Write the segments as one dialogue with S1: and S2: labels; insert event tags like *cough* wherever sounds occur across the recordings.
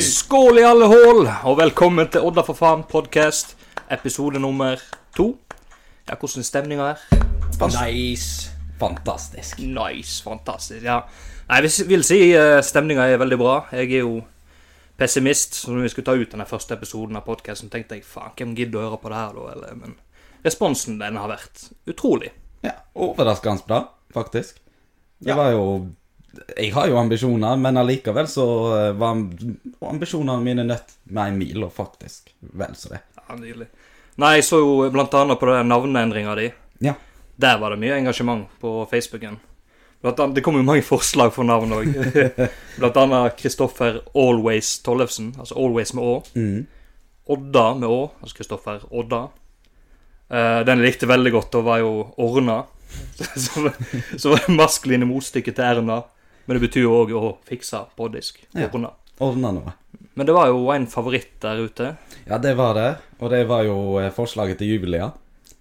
S1: Skål i alle hål, og velkommen til Odda for faen podcast, episode nummer to. Ja, hvordan er stemninga her?
S2: Nice. Fantastisk.
S1: Nice, fantastisk, ja. Nei, jeg vil si- vil si eh, stemninga er veldig bra. Jeg er jo pessimist, så når vi skulle ta ut denne første episoden av podcasten, tenkte jeg faen, hvem gidder å høre på det her da, eller Men responsen den har vært utrolig.
S2: Ja, Overraskende bra, faktisk. Det var jo Jeg har jo ambisjoner, men allikevel så eh, var amb- ambisjonene mine nødt med en mil, og faktisk vel så det.
S1: Ja, nydelig. Nei, jeg så jo blant annet på den navneendringa di.
S2: Ja.
S1: Der var det mye engasjement på Facebooken. Blant annet, det kom jo mange *laughs* forslag for navn òg.
S2: *laughs*
S1: Blant annet Kristoffer Always Tollefsen, altså Always med Å.
S2: Mm.
S1: Odda med Å, altså Kristoffer Odda. Eh, den jeg likte veldig godt, og var jo Orna. *laughs* Så så var det maskuline motstykket til Erna. Men det betyr jo òg å fikse på disk.
S2: Ja.
S1: Orna.
S2: Ordna noe.
S1: Men det var jo en favoritt der ute. *laughs*
S2: Ja, det var det. Og det var jo eh, forslaget til Julia,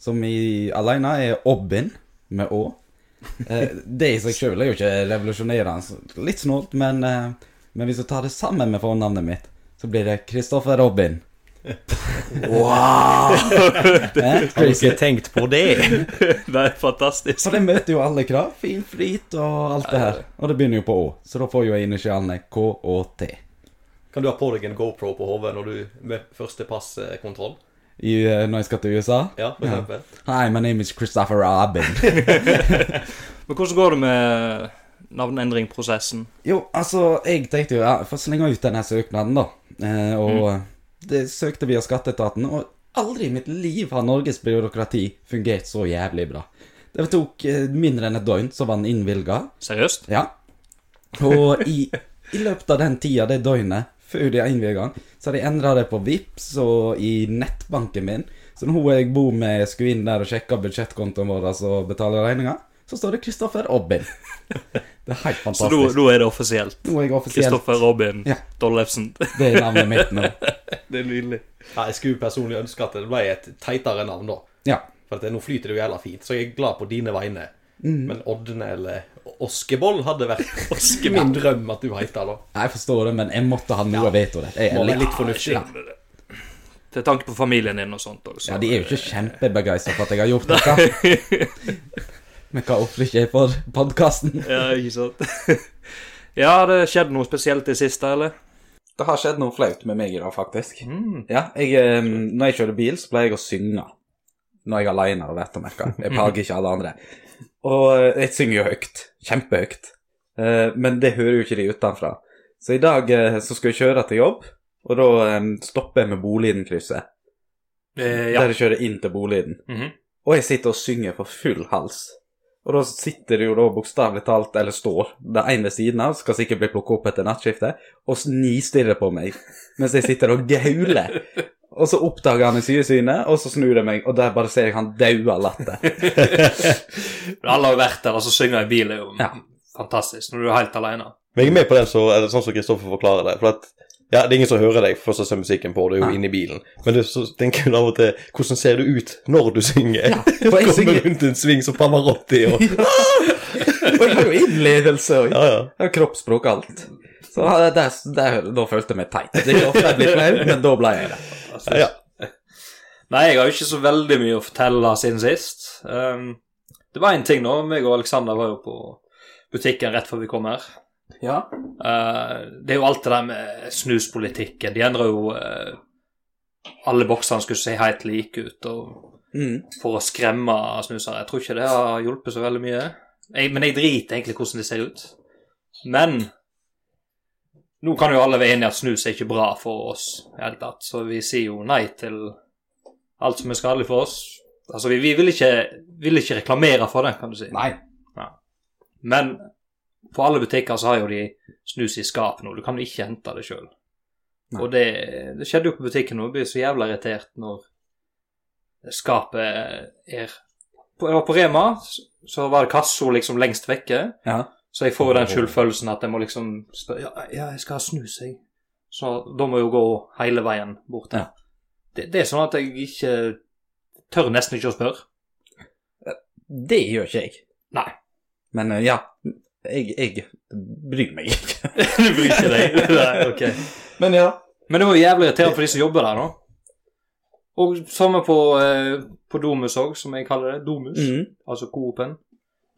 S2: som i aleine er Obbin med Å. Eh, Det i seg sjøl er jo ikke revolusjonerende. Litt snålt, men, eh, men hvis du tar det sammen med fornavnet mitt, så blir det Kristoffer Robin.
S3: *laughs*
S2: *laughs* Eh?
S3: Har du ikke tenkt på det?
S1: Det er fantastisk.
S2: *laughs* Så det møter jo alle krav. Fin flyt og alt det her. Og det begynner jo på Å, så da får jo jeg initialene KÅT.
S3: Kan du ha på deg en GoPro på hodet når du med første passkontroll?
S2: I, eh, når jeg skal til USA.
S3: Ja, for eksempel.
S2: Hi, my name is Christopher Robin.
S1: Men hvordan går det med navneendringprosessen?
S2: Jo, altså, jeg tenkte jo ja, jeg får slenge ut denne søknaden, da. Eh, og det søkte via Skatteetaten, og aldri i mitt liv har Norges byråkrati fungert så jævlig bra. Det tok eh, mindre enn et døgn, så var den innvilga.
S1: Seriøst?
S2: Ja. Og i, i løpet av den tida, det døgnet, før de har innvilga den, så har de endra det på Vipps og i nettbanken min. Så når hun jeg bor med, skulle inn der og sjekke budsjettkontoen vår altså, og betale regninga, så står det Kristoffer Obbin. Det er helt
S1: Så da
S2: fantastisk.
S1: da er det offisielt.
S2: Nå er jeg offisielt
S1: Kristoffer Robin
S2: Ja.
S1: Dollefsen.
S2: Det er navnet mitt nå.
S1: Det er nydelig.
S3: Ja, jeg skulle personlig ønske at det ble et teitere navn, da.
S2: Ja.
S3: For at det, nå flyter det jo jævla fint, så jeg er glad på dine vegne. Men Ådne eller Oskeboll hadde *laughs* vært min drøm at du heter, da.
S2: Jeg forstår det, men jeg måtte ha noe veto der. Jeg
S3: Må
S2: er
S3: være
S2: litt...
S3: litt fornuftig.
S1: Til tanke på familien din og sånt òg.
S2: Ja, de er jo ikke kjempebegeistra for at jeg har gjort noe. Men hva ofrer ikke jeg for podkasten?
S1: ja, ikke sant? *laughs* ja, har det skjedd noe spesielt i det siste, eller?
S2: Det har skjedd noe flaut med meg i dag, faktisk.
S1: Mm.
S2: Ja, jeg, eh, når jeg kjører bil, så pleier jeg å synge. Når jeg er aleine, vet du merke. Jeg plager ikke alle andre. Og eh, jeg synger jo høyt. Kjempehøyt. Eh, Men det hører jo ikke de utenfra. Så i dag eh, så skal jeg kjøre til jobb, og da eh, stopper jeg med Boliden-krysset.
S1: Eh, ja.
S2: Der jeg kjører inn til Boliden.
S1: Mhm.
S2: Og jeg sitter og synger for full hals. Og da sitter det jo da bokstavelig talt, eller står, det er en ved siden av, skal sikkert bli plukket opp etter nattskiftet, og snistirrer på meg mens jeg sitter og gauler. Og så oppdager han i sidesynet, og så snur jeg meg, og der bare ser jeg han daua latter. *laughs*
S1: Alle har jo vært der, og så synger i bil er jo
S2: Ja.
S1: fantastisk. Når du er helt alene.
S4: Men jeg er med på den så, eller sånn som Kristoffer forklarer det. For at, ja, det er ingen som hører deg, for så ser musikken på, du er jo
S2: Nei.
S4: inne i bilen. Men du så tenker hun av og til Hvordan ser du ut når du synger?
S2: for jeg
S4: Kommer
S2: synger-
S4: rundt en sving som Pavarotti
S3: *laughs*
S4: og
S2: Og jeg har jo innlevelse og
S4: Ja, ja.
S2: jeg har kroppsspråk og alt. Så der, der, der, da følte jeg meg teit. Det er ikke ofte jeg blir flau, men da ble jeg det.
S4: ja.
S5: Altså, *laughs* Nei, jeg har jo ikke så veldig mye å fortelle siden sist. Ehm, det var én ting, da. meg og Aleksander var jo på butikken rett før vi kom her.
S2: Ja.
S5: Eh, det er jo alt det der med snuspolitikken. De endrer jo eh, Alle boksene skulle se helt like ut og
S2: Mm.
S5: for å skremme snusere. Jeg tror ikke det har hjulpet så veldig mye. Jeg, men jeg driter egentlig hvordan de ser ut. Men nå kan jo alle være enige at snus er ikke bra for oss i det hele tatt, så vi sier jo nei til alt som er skadelig for oss. Altså, vi, vi vil, ikke, vil ikke reklamere for det, kan du si.
S2: Nei.
S5: Men på alle butikker så har jo de snus i skap nå. Du kan jo ikke hente det sjøl.
S2: Nei.
S5: Og det, det skjedde jo på butikken nå. Jeg blir så jævla irritert når skapet er på, Jeg var på Rema, s- så var det kassa liksom lengst vekke.
S2: Ja.
S5: Så jeg får jo den skyldfølelsen at jeg må liksom spørre ja, ja, jeg skal ha snus, jeg. Så da må jeg jo gå hele veien bort der. Det, det er sånn at jeg ikke tør nesten ikke å spørre. *laughs*
S2: Det gjør ikke jeg.
S5: Nei.
S2: Men eh, ja, jeg, jeg bryr meg ikke.
S5: du bryr ikke deg.
S2: *laughs*
S5: Nei, ok.
S2: Men ja.
S5: Men det var jo jævlig irriterende for de som jobber der, nå. Og samme på, eh, på Domus òg, som jeg kaller det. Domus,
S2: Mm.
S5: altså Coop-en.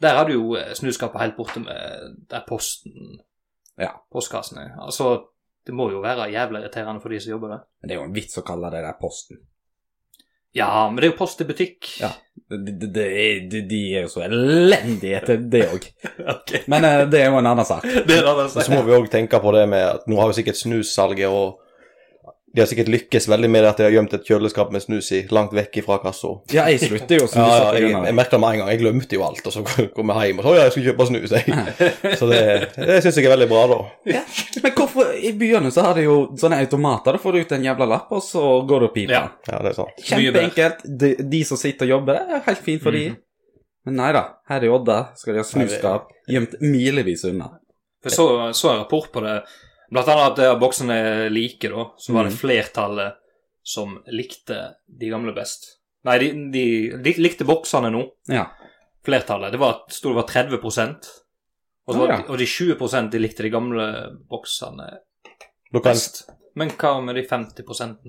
S5: Der hadde jo eh, snuskappa helt borte med der posten
S2: Ja.
S5: Postkassen er. Altså, det må jo være jævlig irriterende for de som jobber der.
S2: Men det er jo en vits å kalle det der posten.
S5: Ja, men det er jo post til butikk. *laughs*
S2: Ja. Det, det, det er, de, de er jo så elendige til det òg.
S5: Ok.
S2: Men eh, det er jo en annen sak.
S5: Det er det andre jeg
S4: Men så må vi òg tenke på det med at nå har jo sikkert snussalget og De har sikkert lykkes veldig med det at de har gjemt et kjøleskap med snus i langt vekk ifra kassa.
S2: Ja, jeg slutter jo å
S4: Ja,
S2: snuse.
S4: ja,
S2: på
S4: jeg,
S2: grunn av
S4: jeg
S2: det.
S4: merket det med en gang. Jeg glemte jo alt, og så *laughs* kom jeg hjem og så «Å ja, jeg skulle kjøpe snus. *laughs* jeg». Så det, det syns jeg er veldig bra, da.
S2: Ja. Men hvorfor I byene så har de jo sånne automater. Da får du ut en jævla lapp, og så går det og piper.
S5: Ja.
S4: Ja, det er sant.
S2: Kjempeenkelt. De, de som sitter og jobber, det er helt fint for
S5: Mhm.
S2: de. Men nei da, her i Odda skal de ha snuskap gjemt milevis unna.
S5: For Jeg så, så en rapport på det, blant annet at eh, boksene er like, da. Så var det
S2: Mhm.
S5: flertallet som likte de gamle best. Nei, de, de, lik- likte boksene nå,
S2: Ja.
S5: flertallet. Det var, sto det var 30 og, så var,
S2: Ah, ja.
S5: og de 20 de likte de gamle boksene
S4: Du kan,
S5: best. Men hva med de 50 jeg,
S2: Det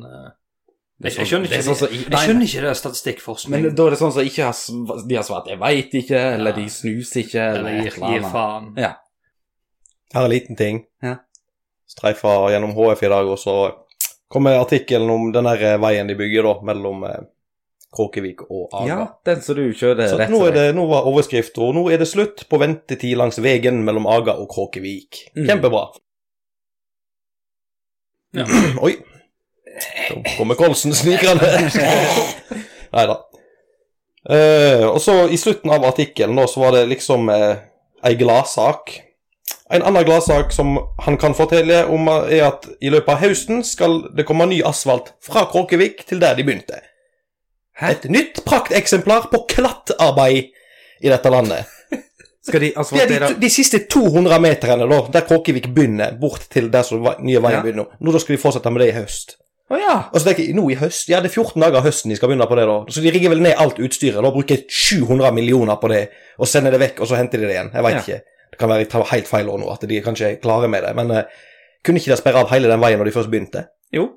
S2: er
S5: jeg skjønner ikke
S2: det er sånn som-
S5: det,
S2: nei,
S5: jeg skjønner ikke det
S2: Men
S5: statistikkforskning.
S2: da er det sånn som ikke har, sv- de har svart 'jeg veit ikke', eller
S5: Ja.
S2: 'de snuser ikke', eller,
S5: Eller
S2: et
S5: gir,
S2: eller
S5: gir
S2: annet.
S5: faen.
S2: Ja.
S4: her er en liten ting.
S2: Ja.
S4: Streifa gjennom HF i dag, og så kommer artikkelen om den der eh, veien de bygger da, mellom eh, Kråkevik og
S2: ja,
S4: Aga.
S2: den som du kjører
S4: Så
S2: rett
S4: nå,
S2: og
S4: er det, nå var overskriften, og nå er det slutt på ventetid langs veien mellom Aga og Kråkevik.
S2: Mm.
S4: Kjempebra.
S5: Ja.
S4: *clears throat* Oi. Så kommer Kolsen snikrende. Nei da. Eh, og så i slutten av artikkelen nå, så var det liksom eh, ei gladsak. En annen gladsak som han kan fortelle om, eh, er at i løpet av høsten skal det komme ny asfalt fra Kråkevik til der de begynte. Et nytt prakteksemplar på klattarbeid i dette landet.
S2: Skal de altså
S4: Det er de,
S2: asfaltere
S4: to- de siste 200 meterne da, der Kråkevik begynner, bort til der som va- nye veien
S2: Ja.
S4: begynner. nå. Nå da skal de fortsette med det i høst.
S2: Å ja!
S4: Og så tenker jeg, nå i høst, ja Det er 14 dager av høsten de skal begynne på det, da. Så de rigger vel ned alt utstyret. da, Bruker 700 millioner på det, og sender det vekk, og så henter de det igjen. Jeg veit
S2: Ja.
S4: ikke. Det kan være jeg tar helt feil år nå, at de kanskje er klare med det. Men eh, kunne ikke de sperre av hele den veien når de først begynte?
S2: Jo.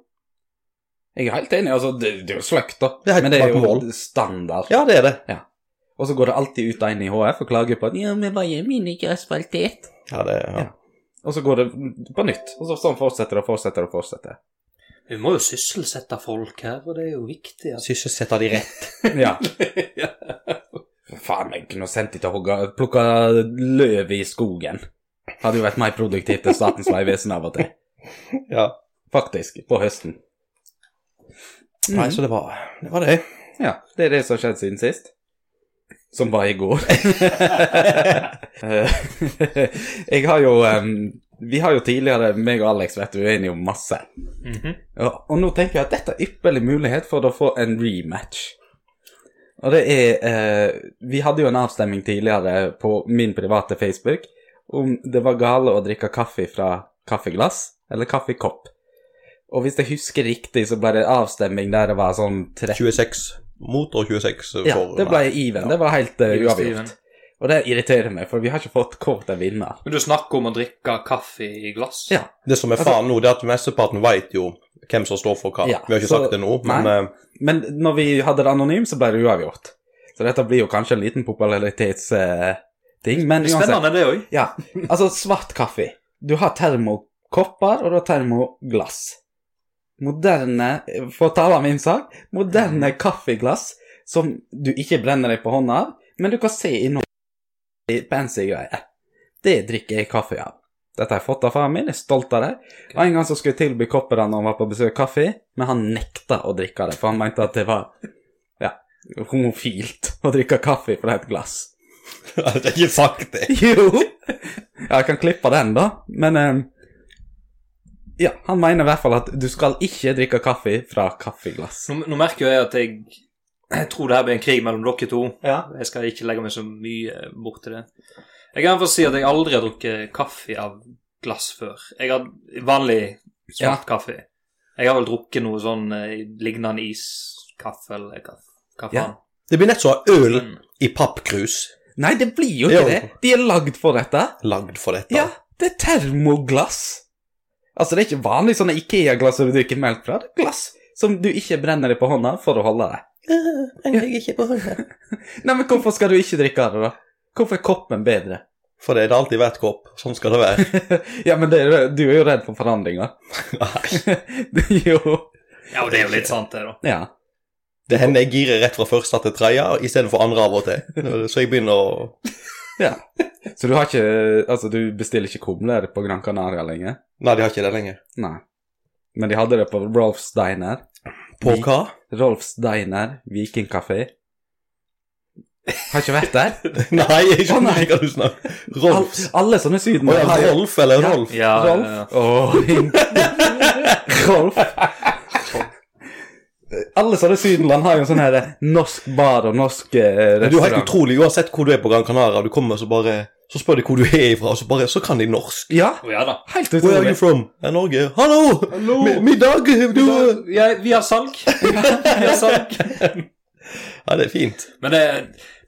S2: Jeg er helt enig. altså, Det, det er jo sløkt, da.
S4: Det er helt
S2: Men det er
S4: klart
S2: jo
S4: mål.
S2: standard.
S4: Ja, det er det.
S2: Og så går det alltid ut en i HF og klager på at 'ja, men veien min er ikke asfaltert'.
S4: Ja, det ja.
S2: Ja. Og så går det på nytt. Og så sånn fortsetter det og fortsetter det og
S4: *laughs*
S2: fortsetter.
S5: Vi må jo sysselsette folk her, og det er jo viktig. Altså.
S4: Sysselsetter de rett.
S2: Ja. Faen, jeg kunne sendt de til å hogge- plukke løv i skogen. Hadde jo vært mer produktivt enn Statens vegvesen av og til.
S4: Ja.
S2: Faktisk. På høsten.
S4: Nei, så det var det. Var det.
S2: Ja, det er det som har skjedd siden sist. Som var i går. Eh, *laughs* jeg har jo em, Vi har jo tidligere, meg og Alex, vært uenige om masse.
S5: Mhm.
S2: og, og nå tenker jeg at dette er ypperlig mulighet for å få en rematch. Og det er eh, Vi hadde jo en avstemning tidligere på min private Facebook om det var gale å drikke kaffe fra kaffeglass eller kaffekopp. Og hvis jeg husker riktig, så ble det avstemning der det var sånn 30
S4: 26 mot og 26
S2: Ja,
S4: for
S2: det ble even. Det var helt eh,
S5: Even Steven.
S2: uavgjort. Og det irriterer meg, for vi har ikke fått kåret en vinner.
S5: Men du snakker om å drikke kaffe i glass.
S2: Ja.
S4: Det som er
S2: Altså-
S4: faen nå, det er at mesteparten veit jo hvem som står for hva.
S2: Ja,
S4: Vi har ikke
S2: så-
S4: sagt det nå, men
S2: Nei.
S4: eh, *laughs*
S2: Men når vi hadde det anonym, så ble det uavgjort. Så dette blir jo kanskje en liten popularitetsting, men
S5: Det er
S2: uansett.
S5: Spennende, det òg.
S2: Ja, *laughs* altså svart kaffe. Du har termokopper, og du har termoglass. Moderne, for å tale om min sak, moderne kaffeglass som du ikke brenner deg på hånda av, men du kan se innom i fancy greier. Det drikker jeg kaffe av. Dette har jeg fått av faren min, jeg er stolt av det. Og en gang så skulle jeg tilby kopper da når han var på besøk kaffe, men han nekta å drikke det, for han mente at det var ja, homofilt å drikke kaffe fra et glass.
S4: det er ikke sagt, det.
S2: *laughs* Jo! Ja, jeg kan klippe den, da. Men eh, Ja, han mener i hvert fall at du skal ikke drikke kaffe fra kaffeglass.
S5: Nå, nå merker jo jeg at jeg, jeg tror det her blir en krig mellom dere to.
S2: Ja.
S5: Jeg skal ikke legge meg så mye bort til det. Jeg kan iallfall si at jeg aldri har drukket kaffe av glass før. Jeg har vanlig svart kaffe. Jeg har vel drukket noe sånn eh, lignende iskaffe eller hva hva
S2: Ja.
S5: faen.
S4: Det blir nett som å ha øl
S5: Mm.
S4: i pappkrus
S2: Nei, det blir jo ikke
S4: Jo.
S2: det. De er lagd for dette.
S4: lagd for dette.
S2: Ja, Det er termoglass. Altså, det er ikke vanlig sånne Ikea-glass som du drikker melk fra. Det er glass som du ikke brenner deg på hånda for å holde det.
S4: Jeg er ikke på hånda.
S2: Nei, men hvorfor skal du ikke drikke av det, da? Hvorfor er koppen bedre?
S4: *laughs*
S2: *laughs*
S4: For det er det alltid vært kopp. Sånn skal det være.
S2: Ja, men det, er jo- du er jo redd for forandringer. *laughs* Nei. jo.
S5: Ja, og det er jo litt sant, det, da.
S2: Ja.
S4: Det hender jeg girer rett fra første til tredje istedenfor andre av og til. Så jeg begynner å
S2: ja. Så du har ikke Altså, du bestiller ikke kumler på Gran Canaria lenger?
S4: Nei, de har ikke det lenger.
S2: Nei. Men de hadde det på Rolfs Diner.
S4: På
S2: Vi-
S4: hva? *laughs*
S2: Rolfs Diner vikingkafé. Har ikke vært
S5: *laughs*
S2: der?
S4: Nei, jeg
S2: Å,
S4: skjønner
S2: nei.
S4: ikke hva du snakker
S2: Al
S4: Rolf.
S2: alle sånne
S4: Å ja,
S2: sydenmenn har jo
S4: Rolf eller Rolf?
S5: Ja,
S2: Rolf.
S5: ja,
S2: Åh, *laughs* Rolf. Alle sånne sydenland har jo sånn her eh, norsk bar og norsk eh,
S4: Det er jo helt
S2: restaurant.
S4: utrolig, uansett hvor du er på Gran Canaria, du kommer så bare Så spør de hvor du er ifra, og så bare Så kan de norsk.
S2: Ja,
S5: Å, ja da.
S2: helt
S4: Where are you
S2: utrolig.
S4: from? Eh, Norge. Hallo! Mi- Middag! Du
S5: Du, jeg, vi har salg. *laughs* Vi har salg.
S4: Ja, det er fint.
S5: Men det,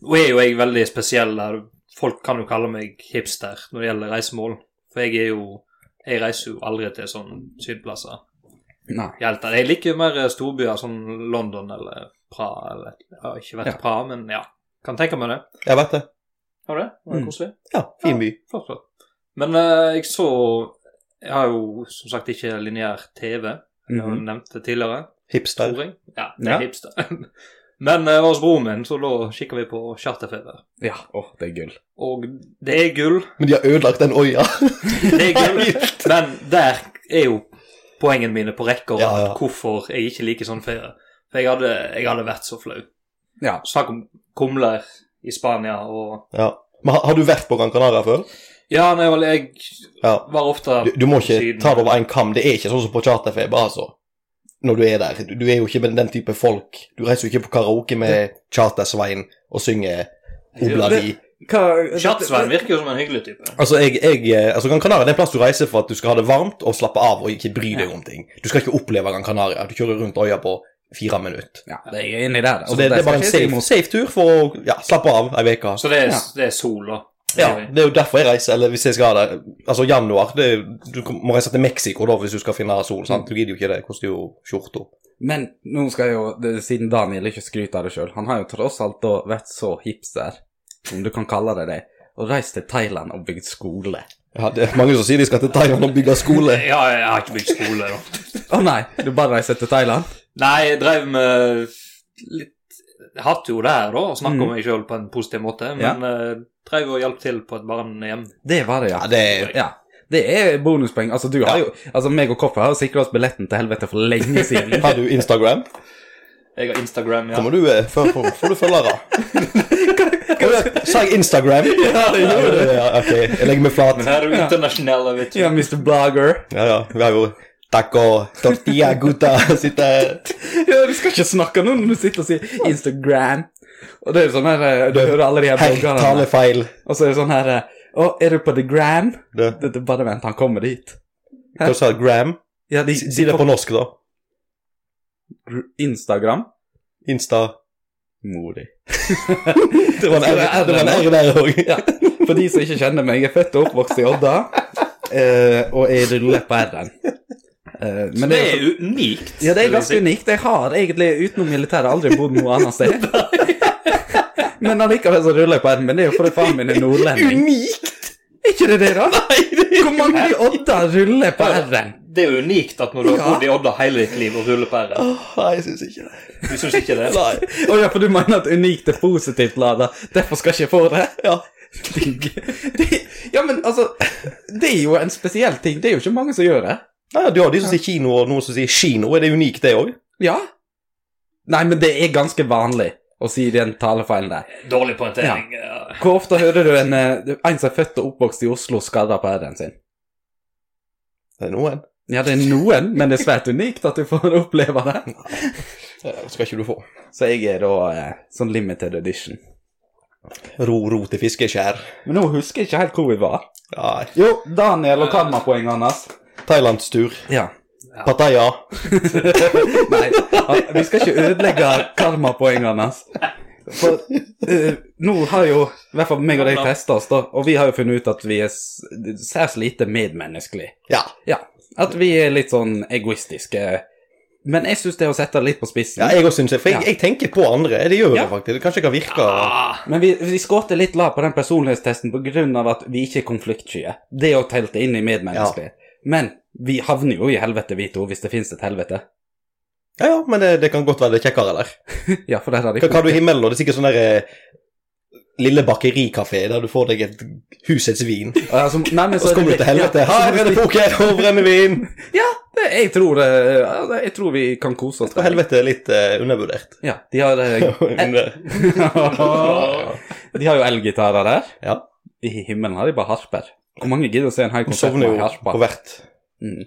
S5: nå er jo jeg veldig spesiell. her. Folk kan jo kalle meg hipster når det gjelder reisemål. For jeg er jo Jeg reiser jo aldri til sånne sydplasser.
S2: Nei.
S5: I alt det. Jeg liker jo mer storbyer, sånn London eller Praha eller Jeg har ikke vært
S2: Ja.
S5: i Praha, men ja. Kan tenke meg det.
S4: Jeg vet det.
S5: Har du det? Var det
S2: Mm.
S5: koselig?
S4: Ja, fin by.
S5: Flott, flott. Men eh, jeg så Jeg har jo som sagt ikke lineær TV. Jeg har jo
S2: Mhm.
S5: nevnt det tidligere.
S4: Hipster.
S5: Sporing. Ja, det er
S2: Ja.
S5: hipster. *laughs* Men eh, hos broren min, så da kikker vi på charterfeber.
S2: Ja, åh, det er gull.
S5: Og det er gull.
S4: Men de har ødelagt den øya.
S5: Det er
S4: *laughs*
S5: gull. Men der er jo poengene mine på rekke og
S4: Ja, ja.
S5: rad hvorfor jeg ikke liker sånn ferie. For jeg hadde, jeg hadde vært så flau.
S2: Ja.
S5: Snakk om kumler i Spania og
S4: Ja. Men har- har du vært på Gran Canaria før?
S5: Ja, nei, vel, jeg
S4: Ja.
S5: var ofte
S4: Du, du må ikke
S5: Syden.
S4: ta det over en kam. Det er ikke sånn som på charterfeber, altså. Når du er der. Du, du er jo ikke med den type folk. Du reiser jo ikke på karaoke med Chartersvein og synger Obladi.
S2: Hva
S5: Chatsvein virker jo som en hyggelig type.
S4: Altså, jeg, jeg, eh, altså Gran Canaria det er en plass du reiser for at du skal ha det varmt og slappe av og ikke bry deg om ting. Du skal ikke oppleve Gran Canaria. Du kjører rundt øya på fire minutter.
S2: Ja, det er jeg enig i der. altså,
S4: Så det, det er bare en safe, safe tur for å ja, slappe av ei uke.
S5: Så det er,
S2: Ja.
S5: det er sol, da.
S4: Ja, det er jo derfor jeg reiser, eller hvis jeg skal ha det Altså, januar det, er- Du må reise til Mexico da hvis du skal finne sol, sant? Du gidder jo ikke det. Det koster jo skjorta.
S2: Men nå skal jeg jo, det- siden Daniel ikke skryter av det sjøl, han har jo tross alt da vært så hipster, om du kan kalle det det, og reist til Thailand og bygd skole.
S4: Ja, det er mange som sier de skal til Thailand og bygge
S5: *laughs*
S4: skole.
S5: Ja, jeg har ikke bygd skole, da.
S2: Å nei, du bare reiser til Thailand?
S5: Nei, jeg drev med litt Jeg hadde jo det her, da, å snakke om
S2: Mm.
S5: meg sjøl på en positiv måte,
S2: Ja.
S5: men eh, drev og hjalp til på et barnehjem.
S2: Det var det,
S4: Ja,
S2: ja.
S4: det er
S2: Ja. Det er bonuspoeng. Altså, du har jo, altså, meg og Koffer har jo sikra oss billetten til helvete for lenge
S4: *laughs*
S2: siden.
S4: Har du Instagram,
S5: Jeg har Instagram, ja.
S4: kommer du eh, før får- får du følgere. *laughs* Å, ja, Sa jeg Instagram? Ja, det gjør du. Ja, ok, jeg legger meg flat.
S5: Men her er du internasjonal, vet du.
S2: ja, Mr. Blogger.
S4: Ja, ja, vi har jo taco, tortilla, gutta, sitte her.
S2: Ja, du skal ikke snakke nå når du sitter og sier Instagram. Og det er jo sånn her, eh, du hører alle de her
S4: Helt
S2: bloggerne.
S4: talefeil.
S2: Og så er det sånn her eh, Å, er du på The Gram?
S4: Du,
S2: Det, det, bare vent, han kommer dit.
S4: hva sa du, Gram?
S2: Ja, de,
S4: Si det på norsk, da.
S2: gr- Instagram.
S4: Insta.
S2: Modig.
S4: Det var en R, det var en R der *laughs* òg.
S2: Ja. For de som ikke kjenner meg, jeg er født og oppvokst i *laughs* Odda, eh, og jeg ruller på R-en. Eh, men
S5: Men det er jo unikt.
S2: Ja, det er
S5: vil jeg
S2: ganske
S5: si.
S2: unikt. Jeg har egentlig utenom militæret aldri bodd noe annet *laughs* sted. Men allikevel så ruller jeg på armen. Det er jo fordi faren min er nordlending.
S4: Unikt!
S2: Er ikke det det, da? Hvor mange i Odda ruller på r-en?
S5: Det er jo unikt at når du har bodd i Odda hele ditt liv og ruller på r-en.
S4: Åh, Nei, jeg syns ikke det.
S5: Du syns ikke det?
S4: Nei.
S2: Å ja, for du mener at unikt er positivt lada. Derfor skal ikke jeg få det?
S4: Ja.
S2: Digg. Det- Ja, men altså Det er jo en spesiell ting. Det er jo ikke mange som gjør det.
S4: Nei, du har de som sier kino, og noen som sier kino. Er det unikt, det òg?
S2: Ja. Nei, men det er ganske vanlig å si den talefeilen der.
S5: Dårlig poengtering. ja.
S2: Hvor ofte hører du en, eh, en som er født og oppvokst i Oslo, skadda på r-en sin?
S4: Det er noen.
S2: Ja, det er noen, men det er svært unikt at du får oppleve det.
S4: Det skal ikke du få.
S2: Så jeg er da eh, sånn limited edition.
S4: Ro, ro til fiskeskjær.
S2: Men nå husker jeg ikke helt hvor vi var.
S4: Nei.
S2: Jo, Daniel og karmapoengene hans.
S4: Thailandstur.
S2: Ja.
S4: Pattaya.
S2: Nei, han- vi skal ikke ødelegge karmapoengene hans. For eh, nå har jo i hvert fall meg og deg testa oss, da, og vi har jo funnet ut at vi er s- særs lite medmenneskelige.
S4: Ja.
S2: Ja. At vi er litt sånn egoistiske. Men jeg syns det er å sette det litt på spissen.
S4: ja jeg også syns det. For jeg,
S2: Ja.
S4: jeg tenker på andre. Det gjør
S2: Ja. Ah.
S4: det faktisk. Det kanskje kan virke
S2: Men vi, vi skårte litt lavt på den personlighetstesten pga. at vi ikke er konfliktsky. Det å telte inn i medmenneskelig. Men vi havner jo i helvete, vi to, hvis det fins et helvete.
S4: Ja, ja, men det, det kan godt være det er kjekkere der.
S2: Ja, for der har de
S4: Hva hva har du i himmelen? nå? Det er sikkert sånn der eh, lille bakerikafé der du får deg et husets
S2: *laughs*
S4: vin. Og
S2: Ja, som- nei, men så
S4: så kommer
S2: er
S4: du til helvete.
S2: Ja, så må
S4: Her
S2: vi
S4: er det
S2: spise-
S4: poker og brennevin!
S2: Ja, det, jeg, tror, eh, ja, jeg tror vi kan kose oss.
S4: Og helvete er litt eh, undervurdert.
S2: Ja, de har, *laughs* eh,
S4: Under-
S2: *laughs* de har jo elgitarer der.
S4: Ja.
S2: I himmelen har de bare harper. Hvor mange gidder å se en hel
S4: Du
S2: konsert
S4: sovner
S2: med
S4: jo på
S2: harper?
S4: hvert
S2: Mm.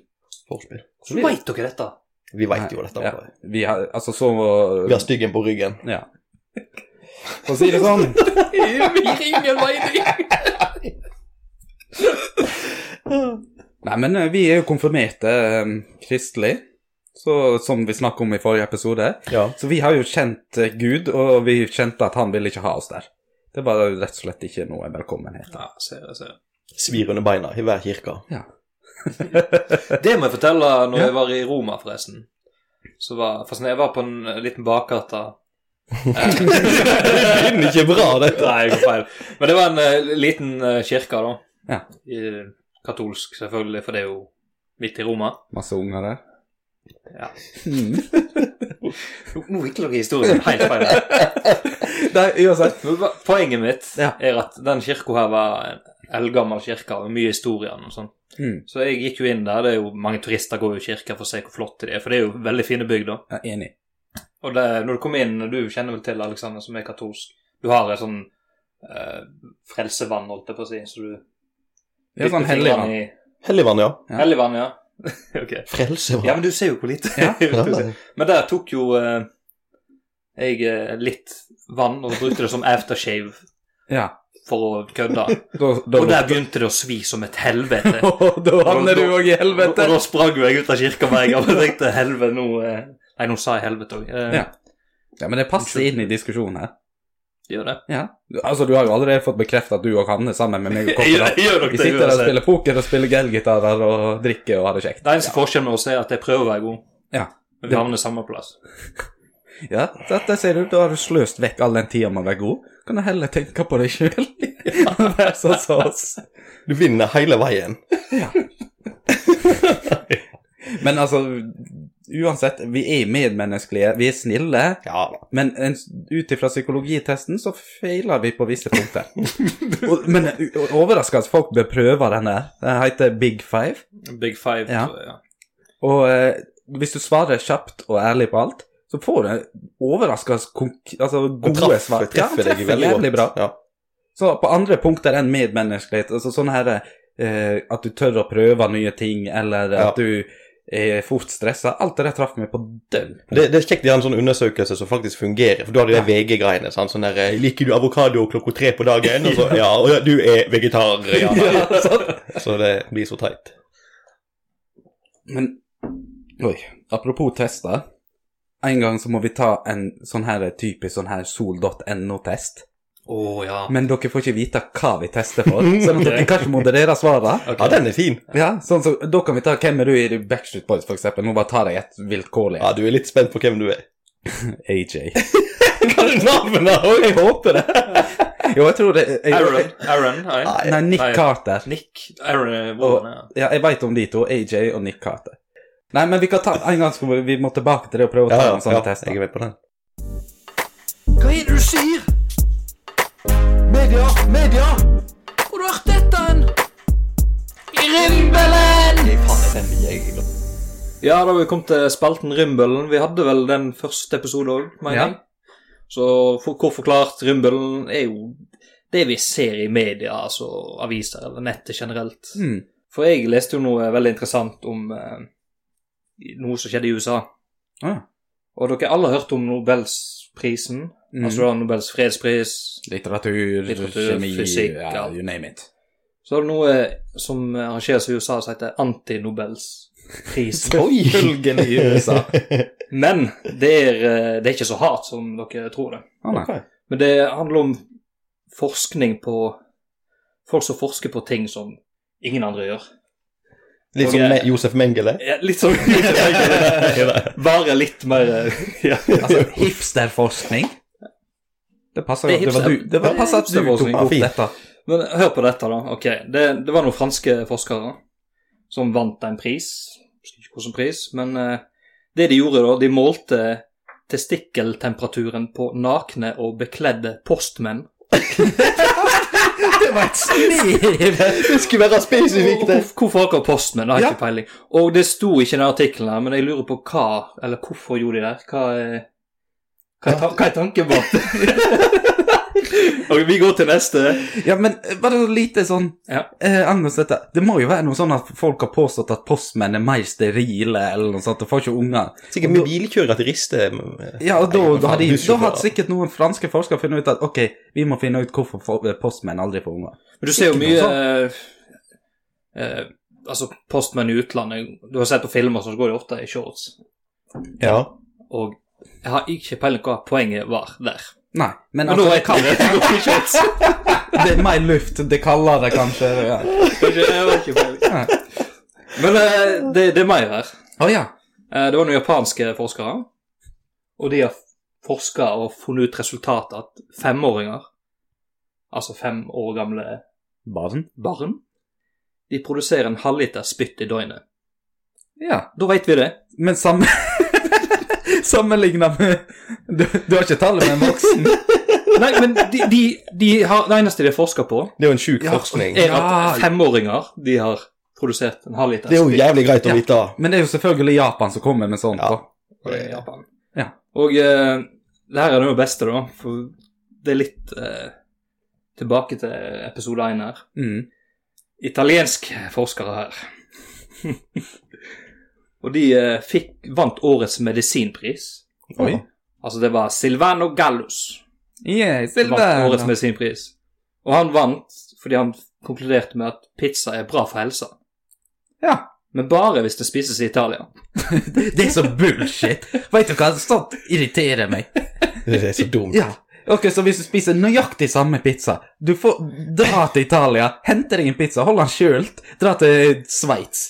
S4: forspill.
S5: Hvordan veit dere dette? *laughs*
S4: Vi veit jo dette.
S2: Ja, vi har, altså så
S4: Vi har styggen på ryggen.
S2: Ja. For å si det sånn. Nei, men eh, vi er jo konfirmerte eh, kristelig, så, som vi snakket om i forrige episode.
S4: Ja.
S2: Så vi har jo kjent eh, Gud, og vi kjente at han ville ikke ha oss der. Det var rett og slett ikke noe velkommenhet.
S5: Ja, ser jeg, ser jeg.
S4: Svir under beina i hver kirke. *laughs*
S5: Det må jeg fortelle når jeg var i Roma, forresten. Så var, forresten, Jeg var på en eh, liten bakgata.
S4: Det begynner ikke bra, dette.
S5: Nei, jeg går feil. Men det var en eh, liten eh, kirke, da.
S2: Ja.
S5: I, katolsk, selvfølgelig, for det er jo midt i Roma.
S2: Masse unger der.
S5: Ja.
S2: Mm.
S5: Nå gikk dere historien helt feil.
S2: Nei, uansett.
S5: *laughs* Men hva- Poenget mitt
S2: Ja.
S5: er at den kirka her var en eldgammel kirke og mye historie. om den Og sånn.
S2: Mm.
S5: Så jeg gikk jo inn der. det er jo Mange turister går jo i kirka for å se hvor flott det er, for det er jo veldig fine bygg, da.
S2: Ja, enig.
S5: Og det, når du kommer inn, du kjenner vel til Alexander som er katolsk, du har et sånn eh, frelsevann, holdt jeg på å si, så du
S2: Det er sånn
S5: dytter
S2: hellig
S5: fingrene
S2: mann.
S5: i-
S4: Helligvann, ja.
S2: Ja.
S5: Helligvann, ja. *laughs* ok. Ja,
S4: Frelsevann.
S5: men du ser jo hvor *laughs* lite
S2: Ja.
S5: Men der tok jo eh, jeg eh, litt vann og brukte det som aftershave
S2: Ja.
S5: for å kødde.
S2: Da, *laughs* da,
S5: Og der begynte det å svi som et
S2: *laughs*
S5: helvete.
S2: da havner du òg i
S5: Og
S2: helvete.
S5: da sprang jo jeg ut av kirka med en gang og tenkte helvete, nå eh, Nei, nå sa jeg helvete òg. Eh,
S2: Ja. Ja, men det passer inn i diskusjonen her.
S5: Gjør det.
S2: Ja. Altså, du har jo allerede fått bekreftet at du og Hanne
S5: *laughs*
S2: sammen med meg og
S5: Gjør,
S2: Kopper.
S5: gjør dere
S2: Vi
S5: det
S2: sitter der og
S5: uansett?
S2: spiller poker og spiller gelgitarer og drikker og har det kjekt.
S5: Det eneste forskjellen med oss er at jeg prøver å være god.
S2: Ja.
S5: Men vi havner samme plass.
S2: Ja, dette ser du, da har du sløst vekk all den tida med å være god. Kan du heller tenke på deg sjøl? *laughs* Vær sånn som oss.
S4: Du vinner hele veien.
S2: Men altså, uansett, vi er medmenneskelige, vi er snille,
S4: Ja.
S2: men en- ut ifra psykologitesten så feiler vi på visse
S4: *laughs*
S2: punkter. og, men u- overraskende, folk bør prøve denne. Den heter Big Five.
S5: Big five.
S2: Ja.
S5: tror jeg, ja.
S2: Og eh, hvis du svarer kjapt og ærlig på alt, så får du overraskende konk altså,
S4: Den
S2: gode
S4: traff,
S2: svar.
S4: treffer deg veldig
S2: jævlig bra.
S4: godt. Ja.
S2: Så på andre punkter enn medmenneskelighet, altså sånn her eh, at du tør å prøve nye ting, eller
S4: Ja.
S2: at du er fort stressa, alt det der traff meg på dønn.
S4: Det, det er kjekt de har en sånn undersøkelse som faktisk fungerer. For du har de der VG-greiene. sant? Sånn der eh, 'Liker du avokado klokka tre på dagen?'
S2: *laughs*
S4: Og så 'Ja, og ja, du er vegetarianer'.
S2: Ja, sant?
S4: Så det blir så teit.
S2: Men Oi. Apropos tester. En gang så må vi ta en sånn her typisk sånn her sol.no-test.
S5: Å ja.
S2: Men dere får ikke vite hva vi tester for,
S5: *laughs*
S2: sånn at dere kanskje modererer svarene.
S4: Ja, den er fin.
S2: Ja, sånn så, da kan vi ta hvem er du i Backstreet Boys, for eksempel. Nå bare tar jeg et vilkårlig
S4: Ja, Du er litt spent på hvem du
S2: *laughs*
S4: er.
S2: AJ.
S4: Hva er navnet òg?
S2: Jeg håper det! Jo, jeg tror det jeg,
S5: Aaron. Aaron, nei.
S2: Nei, Nick
S5: Nei.
S2: Carter.
S5: Nick. Aaron er broren, ja.
S2: Ja, jeg veit om de to. AJ og Nick Carter. Nei, men vi kan ta en gang skal vi, vi må tilbake til det og prøve å ta en sånn test.
S4: jeg er med på den.
S6: Hva er det du sier? Media, media! Hvor har du hørt dette hen? I rimbelen!
S5: Ja, da har vi kommet til spalten Rymbøllen. Vi hadde vel den første episode òg, mener
S2: Ja.
S5: jeg. Så for, hvor forklart Rymbøllen er jo det vi ser i media, altså aviser eller nettet generelt.
S2: Mm.
S5: For jeg leste jo noe veldig interessant om eh, noe som skjedde i USA.
S2: Ah.
S5: Og dere alle har hørt om Nobelsprisen?
S2: Mm.
S5: Altså da Nobels fredspris.
S2: Litteratur,
S5: Litteratur,
S2: kjemi,
S5: fysikk,
S2: ja,
S5: ja.
S2: you name it.
S5: Så er det noe som arrangeres i USA som heter antinobelsprisen.
S2: *laughs*
S4: *laughs*
S2: Bølgen i USA. *laughs*
S5: Men det er, eh, det er ikke så hardt som dere tror det.
S2: Å, nei.
S5: Men det handler om forskning på Folk som forsker på ting som ingen andre gjør.
S4: Litt som
S5: Ok.
S4: Me- Josef Mengele.
S2: *laughs*
S4: *laughs*
S5: Ja, litt sånn *laughs* Være litt mer eh, *laughs* ja.
S2: Altså, hipsterforskning. Det passer
S5: Det
S2: jo
S5: er
S2: at det var
S5: hipster-
S2: du, det var
S5: det er
S2: passer at du
S4: hipsterforskning.
S2: tok opp
S4: Fint.
S2: dette.
S5: Men hør på dette, da. Ok, Det, det var noen franske forskere som vant en pris. Husker ikke hvilken pris, men eh, det de gjorde, da De målte testikkeltemperaturen på nakne og bekledde postmenn.
S2: Det var et snev!
S4: Det skulle være spesifikt, det.
S5: Hvor- Hvorfor akkurat postmenn? Det har jeg ikke peiling. Og det sto ikke i den artikkelen, her, men jeg lurer på hva Eller hvorfor gjorde de det? Hva er, hva er, ta- hva er tanken bak det? *laughs* ok, vi går til neste.
S2: *laughs* Ja, men eh, bare så lite sånn
S5: Ja.
S2: eh, angående dette. Det må jo være noe sånn at folk har påstått at postmenn er mer sterile, eller noe sånt, og får ikke unger.
S4: Sikkert med bilkjører til riste. men-
S2: Ja, og da,
S4: Nei, men
S2: da,
S4: faen,
S2: hadde,
S4: du
S2: da
S4: sjåfør.
S2: hadde sikkert noen franske forskere funnet ut at ok, vi må finne ut hvorfor fo- postmenn aldri får unger.
S5: Men du ser jo
S2: Ikke
S5: mye
S2: noe
S5: eh, eh, Altså, postmenn i utlandet Du har sett på filmer, så går de ofte i shorts.
S4: Ja.
S5: Og jeg har ikke peiling hva poenget var der.
S2: Nei, men,
S5: Men nå vet
S2: altså,
S5: jeg det. *laughs* Jeg går i shorts.
S2: det er mer luft, det kaller det kanskje. Ja.
S5: Kanskje- jeg har ikke peiling.
S2: Ja.
S5: Men eh, det, det er mer her.
S2: Å ja.
S5: Eh, Det var noen japanske forskere, og de har forska og funnet ut resultatet at femåringer, altså fem år gamle
S2: Barn?
S5: barn, de produserer en halvliter spytt i døgnet.
S2: Ja.
S5: Da veit vi det.
S2: Men *laughs* samme Sammenligna med du, du har ikke tallet med en voksen?
S5: Nei, men de, de, de har, det eneste de har forska på,
S4: Det er jo en sjuk
S2: Ja.
S4: forskning.
S5: er
S2: Ja.
S5: at femåringer de har produsert en halvliter
S4: Det er jo
S5: spytt
S4: jævlig greit å
S2: Ja.
S4: vite.
S2: Men det er jo selvfølgelig Japan som kommer med sånt.
S4: Ja.
S2: da.
S5: i Japan.
S2: Ja.
S5: Og eh, det her er det jo beste, da, for det er litt eh, tilbake til episode én her.
S2: Mm.
S5: italienske forskere her. *laughs* og de eh, fikk, vant årets medisinpris.
S2: Oi.
S5: Altså, det var Silvano Gallus
S2: Yeah,
S5: som vant årets
S2: Silver.
S5: medisinpris. Og han vant fordi han konkluderte med at pizza er bra for helsa.
S2: Ja.
S5: Men bare hvis det spises i Italia.
S2: Det er så bullshit. Veit du hva, sånt irriterer meg.
S4: Det er så dumt.
S2: Ja. Ok, Så hvis du spiser nøyaktig samme pizza Du får dra til Italia, hente deg en pizza, hold den skjult, dra til Sveits.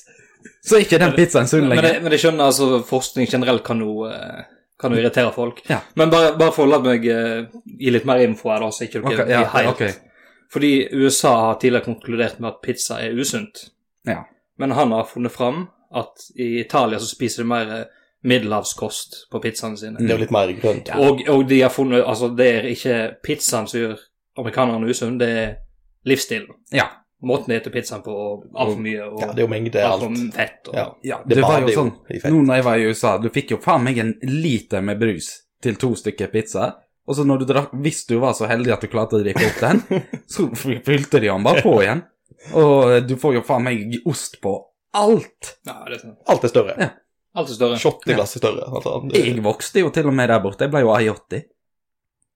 S2: Så er ikke den pizzaen sunn
S5: Men jeg,
S2: lenger.
S5: men jeg skjønner altså, forskning generelt kan jo, eh, kan jo irritere folk.
S2: Ja.
S5: Men bare, bare for å la meg eh, gi litt mer info her, da, så ikke dere
S2: Ok, ja,
S5: blir helt
S2: ok.
S5: Fordi USA har tidligere konkludert med at pizza er usunt.
S2: Ja.
S5: Men han har funnet fram at i Italia så spiser de mer eh, middelhavskost på pizzaene sine.
S4: Det er jo litt mer grønt.
S5: Og, og de har funnet Altså, det er ikke pizzaen som gjør amerikanerne usunne, det er livsstilen.
S2: Ja.
S5: Måten de spiser pizzaen på, og altfor mye, og
S4: Ja, det er jo mengde
S5: alt
S4: alt.
S5: for fett og
S4: Ja.
S2: Ja, det,
S4: Det
S2: var
S4: bader
S2: jo
S4: jo
S2: sånn
S4: i fett.
S2: Nå når jeg var i USA, du fikk jo faen meg en liter med brus til to stykker pizza. Og så når du drakk, hvis du var så heldig at du klarte å drikke opp *laughs* den, så fy- fylte de den bare på igjen. Og eh, du får jo faen meg ost på alt.
S5: Ja, det er sånn.
S4: Alt er større.
S2: Ja.
S5: Alt er større.
S4: Shot i glasset er større. Altså, det-
S2: Jeg vokste jo til og med der borte, jeg ble jo I80.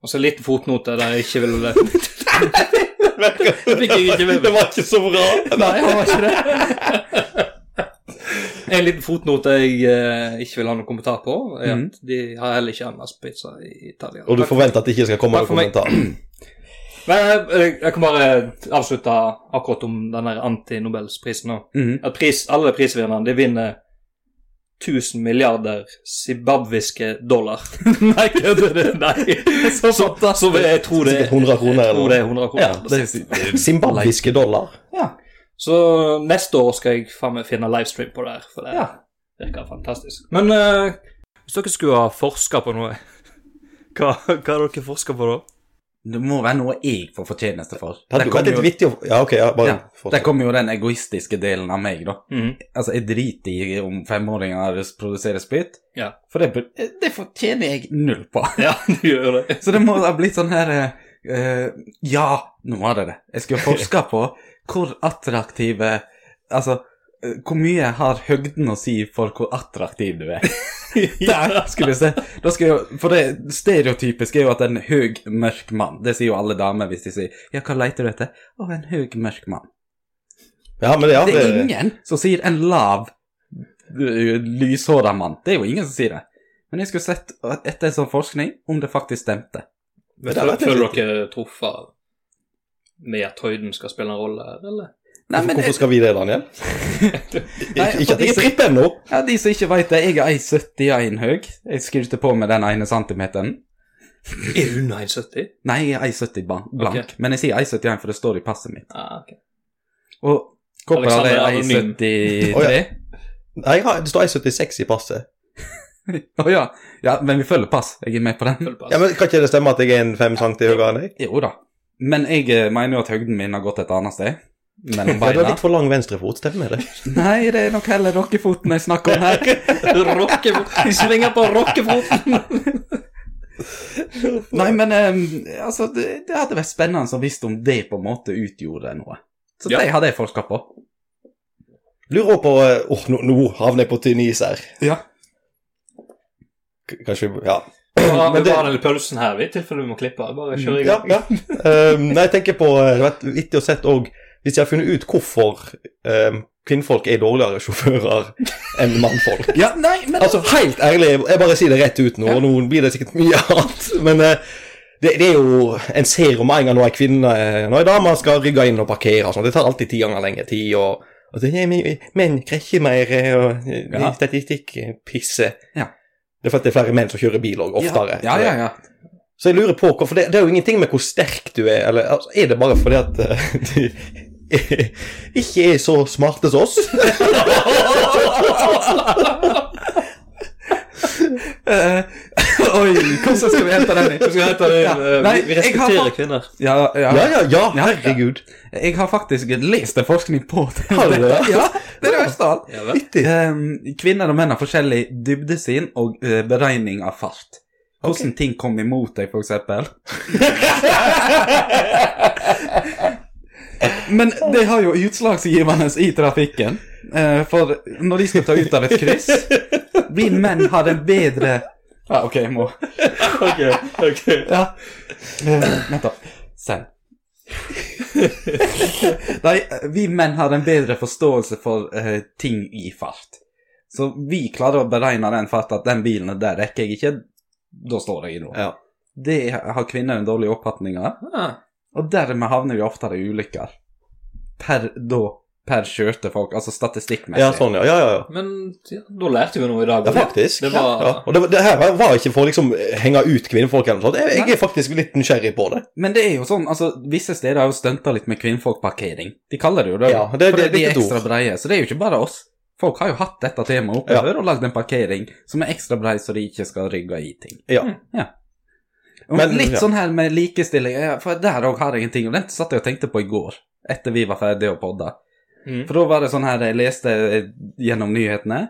S5: Og så en liten fotnote der jeg ikke *laughs* ville Fikk jeg ikke med meg.
S4: *laughs* Det var ikke så bra.
S2: Nei, jeg var ikke det.
S5: En liten fotnote jeg eh, ikke vil ha noen kommentar på, er at de har heller ikke MS-pizza i Italia.
S4: Og du forventer at det ikke skal komme
S5: Takk
S4: noen
S5: for meg.
S4: kommentar.
S5: Men jeg, jeg kan bare avslutte akkurat om den der anti-Nobelsprisen nå.
S2: Mhm.
S5: At pris, alle prisvinnerne, de vinner 1000 milliarder zimbabwiske dollar. *laughs* Nei, kødder du? Nei. *laughs* Så, så, så jeg tror det,
S4: Sikkert 100 kroner
S5: jeg tror det
S4: eller
S5: er 100 kroner.
S4: Ja,
S2: Det er sy-
S4: noe. Zimbabwiske dollar.
S5: Så neste år skal jeg faen meg finne livestream på det her, for det
S2: Ja.
S5: virker fantastisk. Men eh, hvis dere skulle ha forska på noe, hva, hva har dere forska på da?
S2: Det må være noe jeg får fortjeneste for.
S4: Det hadde
S2: Der
S4: jo vært
S2: kommer
S4: litt
S2: jo,
S4: vittig å Ja, ok, ja, bare
S2: ja, der
S4: fortsett.
S2: kommer jo den egoistiske delen av meg, da.
S5: Mhm. *laughs*
S2: Altså, jeg driter i om femåringer produserer spytt,
S5: Ja.
S2: for det, eh, det fortjener jeg null på. *laughs*
S5: Ja, du gjør det.
S2: Så det må ha blitt sånn her eh, eh, Ja, nå var det det. Jeg skulle forske på hvor attraktive Altså, eh, hvor mye har høgden å si for hvor attraktiv du er? *laughs* Der skulle jeg se. Da skal jeg, jo- for det stereotypiske er jo at en høg, mørk mann Det sier jo alle damer hvis de sier Ja, hva leter du etter? Å, en høg, mørk mann.
S4: Ja, men det, ja,
S2: Det er
S4: det,
S2: ingen som sier en lav, eh, ø, lyshåra mann. Det er jo ingen som sier det. Men jeg skulle sett etter en sånn forskning om det faktisk stemte.
S5: Men Føler føler dere truffet med at høyden skal spille en rolle her, eller?
S2: Nei, men
S4: Altså, Hvorfor skal vi det, Daniel?
S2: Nei,
S4: Ikke at jeg er
S2: fordi-
S4: pripp ennå.
S2: Ja, de som ikke veit det, jeg er 1,71 høy. Jeg skryter på med den ene centimeteren.
S5: Er du 970?
S2: Nei, jeg er 1,70 ba- blank,
S5: Ok.
S2: men jeg sier 1,71 for det står i passet mitt.
S5: Ah, ok.
S2: Og Kopperad er
S5: Alexander er anonym.
S2: 1,73. Å
S4: Å,
S2: ja.
S4: Nei, jeg har- det står 1,76 i passet.
S2: *laughs* ja. men vi følger pass. Jeg er med på den.
S5: Følg på.
S4: Ja,
S5: *laughs*
S4: men Kan ikke det stemme at jeg er en fem centi høyere enn deg?
S2: Jo da. Men jeg eh, mener jo at høgden min har gått et annet sted. Mellom
S4: Ja, du har
S2: beina.
S4: litt for lang venstrefot, stemmer det?
S2: Nei, det er nok heller rockefoten jeg snakker om
S5: *laughs*
S2: her.
S5: Rockefot- Svinger på rockefoten!
S2: *laughs* Nei, men eh, altså, det, det hadde vært spennende å visst om det på en måte utgjorde noe. Så
S5: Ja.
S2: det hadde jeg forska på.
S4: Lurer også på eh, Åh, nå, nå havner jeg på tynn is her.
S2: Ja.
S4: K- Kanskje Ja.
S5: Ja,
S4: Men
S5: Vi
S4: det-
S5: tar den pausen her, vi, i tilfelle vi må klippe. Bare kjør i
S4: ja,
S5: gang.
S4: ja. Eh, nei, jeg tenker på eh, Det har vært vittig å sett òg Hvis jeg har funnet ut hvorfor eh, kvinnfolk er dårligere sjåfører enn mannfolk
S2: Ja, nei, men
S4: Altså, helt ærlig, jeg bare sier det rett ut nå, og nå blir det sikkert mye annet, men eh, det, det er jo En ser jo med en gang når ei kvinne eh, Når ei dame skal rygge inn og parkere og sånn, det tar alltid ti ganger lenger tid, og, og det, «Nei, men- Menn krekker mer, eh, og eh,
S2: Ja.
S4: statistikk eh, pisse.
S2: Ja.
S4: Det er fordi det er flere menn som kjører bil òg, oftere.
S2: Ja, ja, ja.
S4: Så jeg lurer på hvorfor det, det er jo ingenting med hvor sterk du er, eller altså, er det bare fordi at eh, *laughs* du ikke er så smarte som oss?
S2: Eh, *laughs* oi, hvordan skal vi hente den i?
S5: Vi skal hente det inn, eh,
S2: Nei,
S5: vi- Vi
S2: jeg har
S5: respekterer
S2: fått-
S5: kvinner.
S2: Ja, ja.
S4: Ja, ja, ja, herregud.
S2: Jeg har faktisk lest en forskning på det.
S4: Har du det?
S2: *laughs* Ja, det er det verste av alt.
S5: Ja vel.
S2: Ehm, kvinner og menn har forskjellig dybdesyn og eh, beregning av fart. Hvordan ting kom imot deg, for eksempel. Men det har jo utslagsgivende i trafikken. Eh, for når de skal ta ut av et kryss, vil menn ha den bedre Ja, OK, jeg må Ja. Eh, Vent, da. Sen. Nei, vi menn har en bedre forståelse for eh, ting i fart. Så vi klarer å beregne den farten at den bilen der rekker jeg ikke, da slår jeg i noe.
S4: Ja.
S2: Det har kvinner en dårlig oppfatning av,
S5: Ah,
S2: og dermed havner vi oftere i ulykker. Per da, per kjørte folk, altså statistikkmessig.
S4: Ja, sånn, ja. ja, ja, ja.
S5: Men ja, da lærte vi noe i dag.
S4: Ja, faktisk.
S5: Det var-
S4: ja. Og det, var- det her var ikke for å liksom henge ut kvinnfolk eller noe sånt. Jeg, jeg er faktisk litt nysgjerrig på det.
S2: Men det er jo sånn, altså, visse steder har jo stunta litt med kvinnfolkparkering. De kaller det jo det,
S4: Ja, det- det-
S2: fordi
S4: det
S2: de
S4: er
S2: er
S4: et
S2: ekstra
S4: ord.
S2: breie. Så det er jo ikke bare oss. Folk har jo hatt dette temaet oppe
S4: Ja.
S2: før og lagd en parkering som er ekstra brei, så de ikke skal rygge i ting. Mm,
S4: Ja.
S2: Og
S4: Men-
S2: litt
S4: ja.
S2: sånn her med likestilling, ja, for der òg har jeg en ting, og den satt jeg og tenkte på i går, etter vi var ferdige å podde.
S5: Mm.
S2: For da var det sånn her, jeg leste eh, gjennom nyhetene,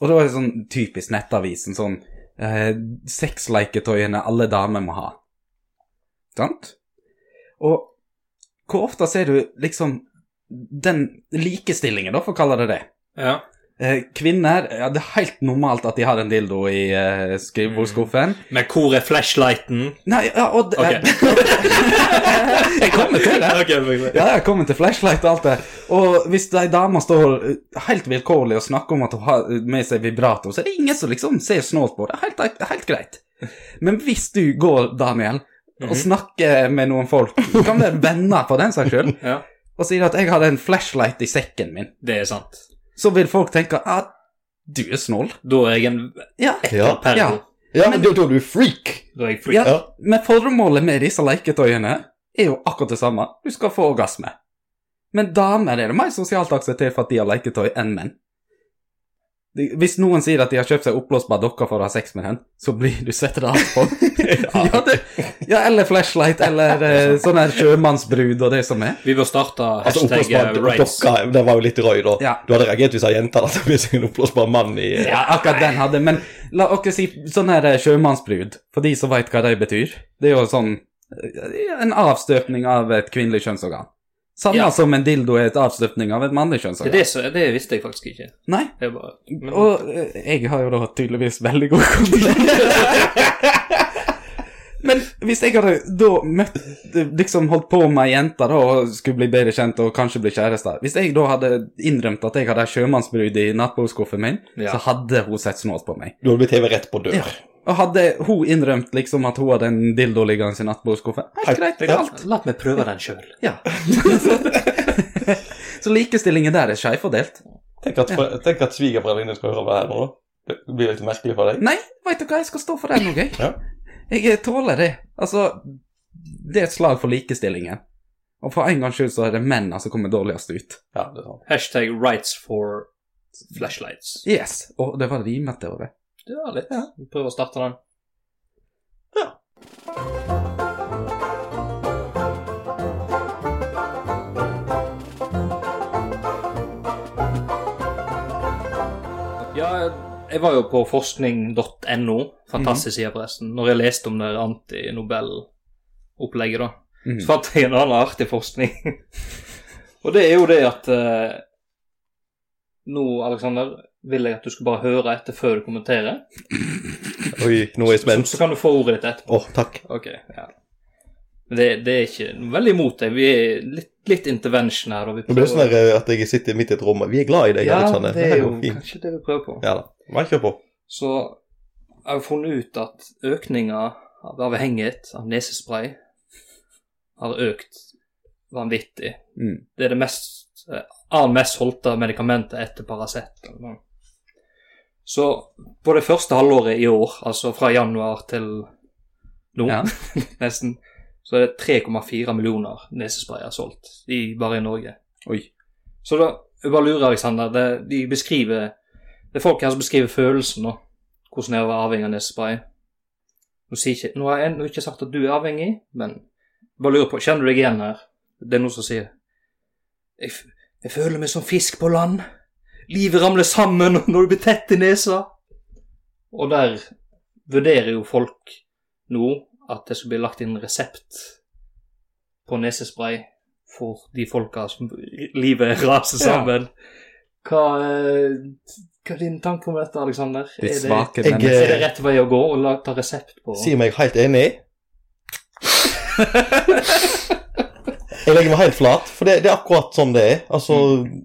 S2: og da var det sånn typisk Nettavisen, sånn eh, Sexleketøyene alle damer må ha. Sant? Og hvor ofte ser du liksom den likestillingen, da, for å kalle det det?
S5: Ja.
S2: Eh, kvinner ja, Det er helt normalt at de har en dildo i eh, skrivebordsskuffen.
S5: Men hvor er flashlighten?
S2: Nei, ja, og eh, det-
S5: *laughs* Ok.
S2: Jeg kommer til det.
S5: Ok, beklager.
S2: Ja, jeg kommer til flashlight og alt det. Og hvis ei dame står eh, helt vilkårlig og snakker om at hun har eh, med seg vibrator, så er det ingen som liksom ser snålt på det. Helt, helt greit. Men hvis du går, Daniel, og snakker med noen folk, du kan være venner for den saks skyld,
S5: Ja.
S2: og sier at 'jeg har en flashlight i sekken min',
S5: Det er sant.
S2: så vil folk tenke at du er snål.
S5: Da er jeg en
S2: Ja.
S4: Ja,
S5: perro.
S2: Ja.
S4: ja men da da er du freak.
S5: Da er jeg freak.
S2: ja.
S4: Ja.
S2: Men formålet med disse leketøyene er jo akkurat det samme. Du skal få orgasme. Men damer er det mer sosialt akseptert for at de har leketøy enn menn. De- Hvis noen sier at de har kjøpt seg oppblåsbar dokke for å ha sex med henne, så blir du sett rart på. ja, det, ja, eller flashlight, eller eh, sånn her sjømannsbrud og det som er.
S5: Vi bør starte
S4: Altså,
S5: hashtag
S4: oppblåsbar
S5: eh, rights.
S4: dokka, den var jo litt røy da.
S2: Ja.
S4: Du hadde reagert hvis ei jente hadde med seg en oppblåsbar mann i
S2: Ja, akkurat den hadde, men la dere si sånn her eh, sjømannsbrud, for de som veit hva de betyr. Det er jo sånn eh, en avstøpning av et kvinnelig kjønnsorgan. Samme
S5: Ja.
S2: som en dildo er et avstøpning av et mannlig
S5: Det, er
S2: kjønnsorgan.
S5: det, som- det visste jeg faktisk ikke.
S2: Nei,
S5: Det er bare, men,
S2: og eh, jeg har jo da tydeligvis veldig god kontroll. Men hvis jeg hadde da møtt Liksom holdt på med ei jente da, og skulle bli bedre kjent og kanskje bli kjæreste Hvis jeg da hadde innrømt at jeg hadde ei sjømannsbrud i nattbordskuffen min,
S5: Ja.
S2: så hadde hun sett snålt på meg.
S4: Du hadde blitt hevet rett på dør.
S2: Ja. Og hadde hun innrømt liksom at hun hadde en dildo liggende i nattbordskuffen? Helt greit, det er alt.
S5: La meg prøve den sjøl.
S2: Ja. *laughs* Så likestillingen der er skjevfordelt.
S4: Tenk at, tenk at svigerforeldrene dine skal høre det her nå. da. Det blir litt merkelig for deg.
S2: Nei, veit du hva, jeg skal stå for den òg, jeg.
S4: Ja.
S2: Jeg eh, tåler det. Altså, det er et slag for likestillingen. Og for en gangs skyld så er det mennene som kommer dårligst ut.
S4: Ja, det er sant.
S5: Hashtag rights for flashlights.
S2: Yes, og det var rimete over det.
S5: Ja, litt. Vi prøver å starte den. Ja, jeg var jo på forskning.no, fantastisk side forresten, når jeg leste om det anti-Nobel-opplegget, da.
S2: Mhm.
S5: Så fant jeg en annen artig forskning. *laughs* Og det er jo det at eh, Nå, Aleksander, vil jeg at du skal bare høre etter før du kommenterer.
S4: Oi, nå er jeg
S5: Så,
S4: spent.
S5: så kan du få ordet ditt etterpå.
S4: Å, takk.
S5: Ok, ja. Men Det, det er ikke noe veldig imot deg. Vi er litt, litt intervention her. Og vi
S4: Nå blir det sånn der, eh, at jeg sitter midt i et rom. og Vi er glad i deg,
S5: Ja,
S4: Alexander.
S5: det er jo
S4: fint.
S5: kanskje det vi prøver på.
S4: Ja da. Bare kjør på.
S5: Så jeg har funnet ut at økninga av avhengighet av nesespray har økt vanvittig.
S2: Mm.
S5: Det er det mest, eh, annet mest solgte medikamentet etter Paracet. eller noe. Så på det første halvåret i år, altså fra januar til nå
S2: Ja.
S5: *laughs* nesten, så er det 3,4 millioner nesesprayer solgt i, bare i Norge.
S2: Oi.
S5: Så da, jeg bare lurer, Alexander, det, de beskriver, det er folk her som beskriver følelsen nå, hvordan det er å være avhengig av nesespray. Nå, sier ikke, nå har jeg ennå ikke sagt at du er avhengig, men jeg bare lurer på, kjenner du deg igjen her? Det er noen som sier, jeg, f- jeg føler meg som fisk på land, livet ramler sammen *laughs* når du blir tett i nesa. Og der vurderer jo folk nå at det skal bli lagt inn resept på nesespray for de folka som livet *laughs* raser sammen. Hva, eh, hva er din tanke om dette, Alexander?
S2: De
S5: er,
S2: svake
S5: det,
S2: menneskene.
S5: er det rett vei å gå å la- ta resept på?
S4: Si meg helt enig. jeg legger meg helt flat, for det, det er akkurat sånn det er. Altså
S2: Mm.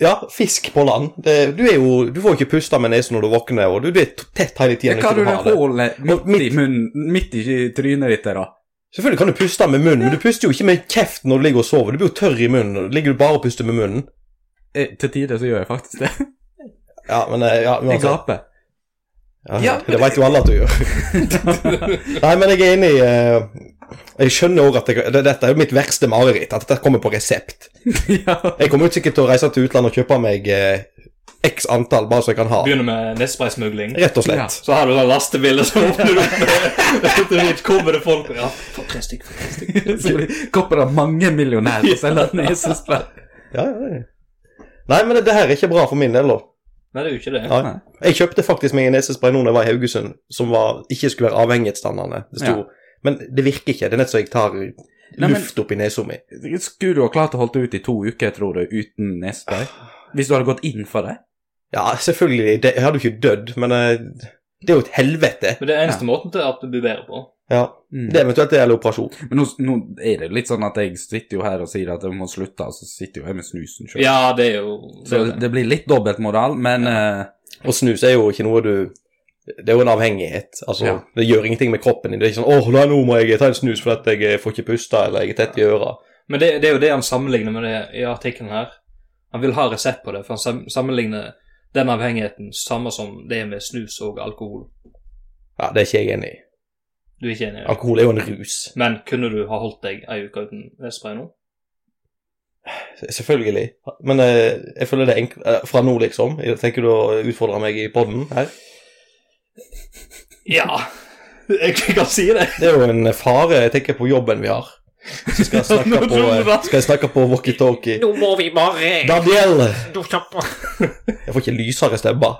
S4: Ja, fisk på land. Det, du, er jo, du får ikke puste med nesen når du våkner, og du, du er t- tett hele tida.
S2: Ja, hva har du det hullet
S4: Og
S2: midt i munnen, midt i trynet ditt der, da?
S4: Selvfølgelig kan du puste med munnen, men du puster jo ikke med kjeften når du ligger og sover. Du blir jo tørr i munnen. og Ligger du bare og puster med munnen?
S2: Eh, Til tider så gjør jeg faktisk det.
S4: Ja, men eh, ja,
S2: Jeg
S4: uansett.
S2: gaper. *laughs*
S4: Ja,
S2: Ja,
S4: det veit jo alle at
S2: *laughs*
S4: du gjør. Nei, men jeg er enig i eh, Jeg skjønner òg at jeg, det, dette er jo mitt verste mareritt, at dette kommer på resept.
S2: ja.
S4: Jeg kommer jo sikkert til å reise til utlandet og kjøpe meg eh, x antall, bare så jeg kan ha.
S5: Begynner med nesespraysmugling.
S4: Rett og slett.
S5: Så har du den lastebilen som åpner opp *laughs* med- med Kommer det folk og Ja, få tre stykk, få tre stykk.
S2: *laughs* Så blir- Kopper av mange millionærer som selger *laughs* nesespray.
S4: Ja, ja, ja. Nei, men det, det her er ikke bra for min del, da.
S5: Nei, det er jo ikke det.
S4: Nei.
S2: Nei.
S4: Jeg kjøpte faktisk meg en nesespray nå når jeg var i Haugesund, som var, ikke skulle være avhengighetsdannende. Det sto, Men det virker ikke. Det er nett så jeg tar
S2: men-
S4: luft opp i nesa mi.
S2: Skulle du ha klart å holde ut i to uker, tror du, uten nesespray? Hvis du hadde gått inn for det?
S4: Ja, selvfølgelig. Det, jeg hadde jo ikke dødd, men eh, det er jo et helvete.
S5: Men det er eneste måten til at du blir bedre på.
S4: Ja.
S2: Mm.
S4: Det er eventuelt det gjelder operasjon.
S2: Men nå, nå er det litt sånn at jeg sitter jo her og sier at jeg må slutte, og så sitter jo jeg med snusen sjøl.
S5: Ja, det er jo
S2: Så det blir litt dobbeltmoral, men eh,
S4: Og snus er jo ikke noe du Det er jo en avhengighet. Altså,
S2: Ja.
S4: Det gjør ingenting med kroppen din. Det er ikke sånn 'Å, nei, nå må jeg ta en snus fordi jeg eh, får ikke puste, eller jeg er tett i øra'.
S5: Men det, det er jo det han sammenligner med det i artikkelen her. Han vil ha resept på det, for han sam- sammenligner den avhengigheten samme som det er med snus og alkohol.
S4: Ja, det er ikke jeg enig i.
S5: Du er ikke enig i det?
S4: Alkohol er jo en rus.
S5: Men kunne du ha holdt deg ei uke uten nesespray nå?
S4: Selvfølgelig. Men eh, jeg føler det er enk... eh, Fra nå, liksom. Tenker du å utfordre meg i podden her?
S5: Ja, *laughs* jeg kan si det.
S4: Det er jo en fare. Jeg tenker på jobben vi har. Så skal jeg snakke
S5: *laughs* Nå
S4: på,
S5: trodde du
S4: eh, skal jeg snakke på walkietalkie.
S5: Nå må vi bare
S4: Daniel! *laughs* Jeg får ikke lysere stemmer.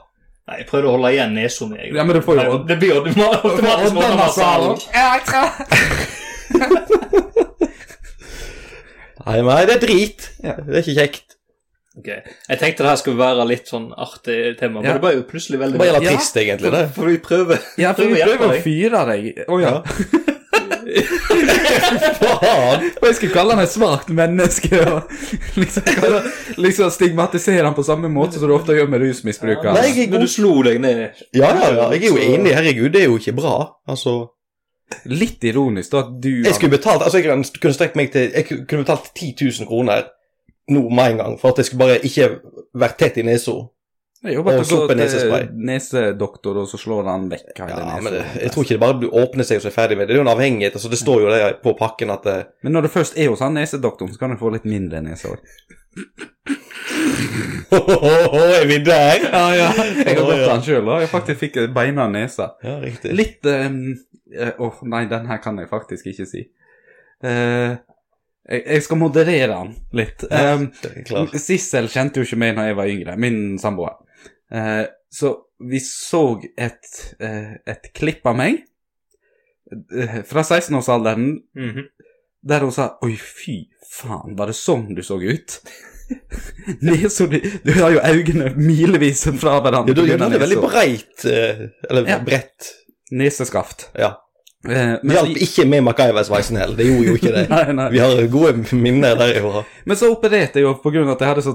S5: Nei, jeg prøvde å holde igjen nesa mi. jeg.
S2: Ja, men du får jo-
S5: Nei, Det blir jo det må- automatisk
S2: Odda-nasalen.
S5: automatisk.
S4: Nei, nei, det er drit. Det er ikke kjekt.
S5: Ok, Jeg tenkte det her skulle være litt sånn artig tema, men
S2: Ja.
S5: det ble jo plutselig
S4: Det
S5: veldig
S4: bare gjelder
S2: Ja.
S4: trist, egentlig.
S2: *laughs*
S4: det.
S5: For vi prøver
S2: Ja, for
S5: Prøv å
S2: vi
S5: hjelpe
S2: prøver å
S5: deg.
S2: fyre deg. Å ja.
S4: faen!
S2: Og jeg skulle kalle han et svakt menneske og *laughs* liksom, kalle, liksom stigmatisere han på samme måte som du ofte gjør med rusmisbrukere.
S4: Nei, jeg er
S1: Men du
S4: god.
S1: slo deg ned.
S4: Ja, ja, ja. Jeg er jo
S2: Altså-
S4: enig. Herregud, det er jo ikke bra. Altså
S2: Litt ironisk da at du
S4: Jeg skulle betalt Altså, jeg kunne- kunne strekt meg til Jeg kunne betalt 10 000 kroner nå med en gang, for at jeg skulle bare ikke vært tett i nesa.
S2: Jeg jobber
S4: og
S2: til å
S4: sope
S2: gå
S4: nesespray.
S2: til nesedoktor, og så slår han vekk hele
S4: Ja,
S2: nesen.
S4: men det, jeg tror ikke det bare du åpner seg og så er jeg ferdig med det. Det er jo en avhengighet. altså Det står jo der på pakken at eh, *laughs*
S2: Men når du først er hos han nesedoktoren, så kan du få litt mindre nese òg.
S4: Ho, ho, ho, er vi der?
S2: Ja, ja. Jeg har
S4: Å,
S2: gått til
S4: ja.
S2: han sjøl, og jeg faktisk fikk beina og nesa.
S4: Ja, riktig.
S2: Litt eh, eh, Åh, nei, den her kan jeg faktisk ikke si. Eh, jeg, jeg skal moderere han litt.
S4: Ja,
S2: Um,
S4: det er klart.
S2: Sissel kjente jo ikke meg når jeg var yngre, min samboer. Eh, så vi så et, eh, et klipp av meg eh, fra 16-årsalderen der hun sa 'oi, fy faen, var det sånn du så ut'? *laughs* Nesa di Du har jo øynene milevis fra
S4: Ja,
S2: hverandre.
S4: du
S2: på grunn av
S4: gjorde det veldig
S2: nesa.
S4: breit eh, Eller
S2: Ja.
S4: bredt.
S2: Neseskaft.
S4: Ja.
S2: Eh,
S4: Det
S2: men
S4: hjalp
S2: *laughs*
S4: ikke med MacGyver-sveisen heller. Det gjorde jo ikke det.
S2: Nei, nei.
S4: Vi har gode minner derifra.
S2: Men så opererte jeg jo på grunn av at jeg hadde så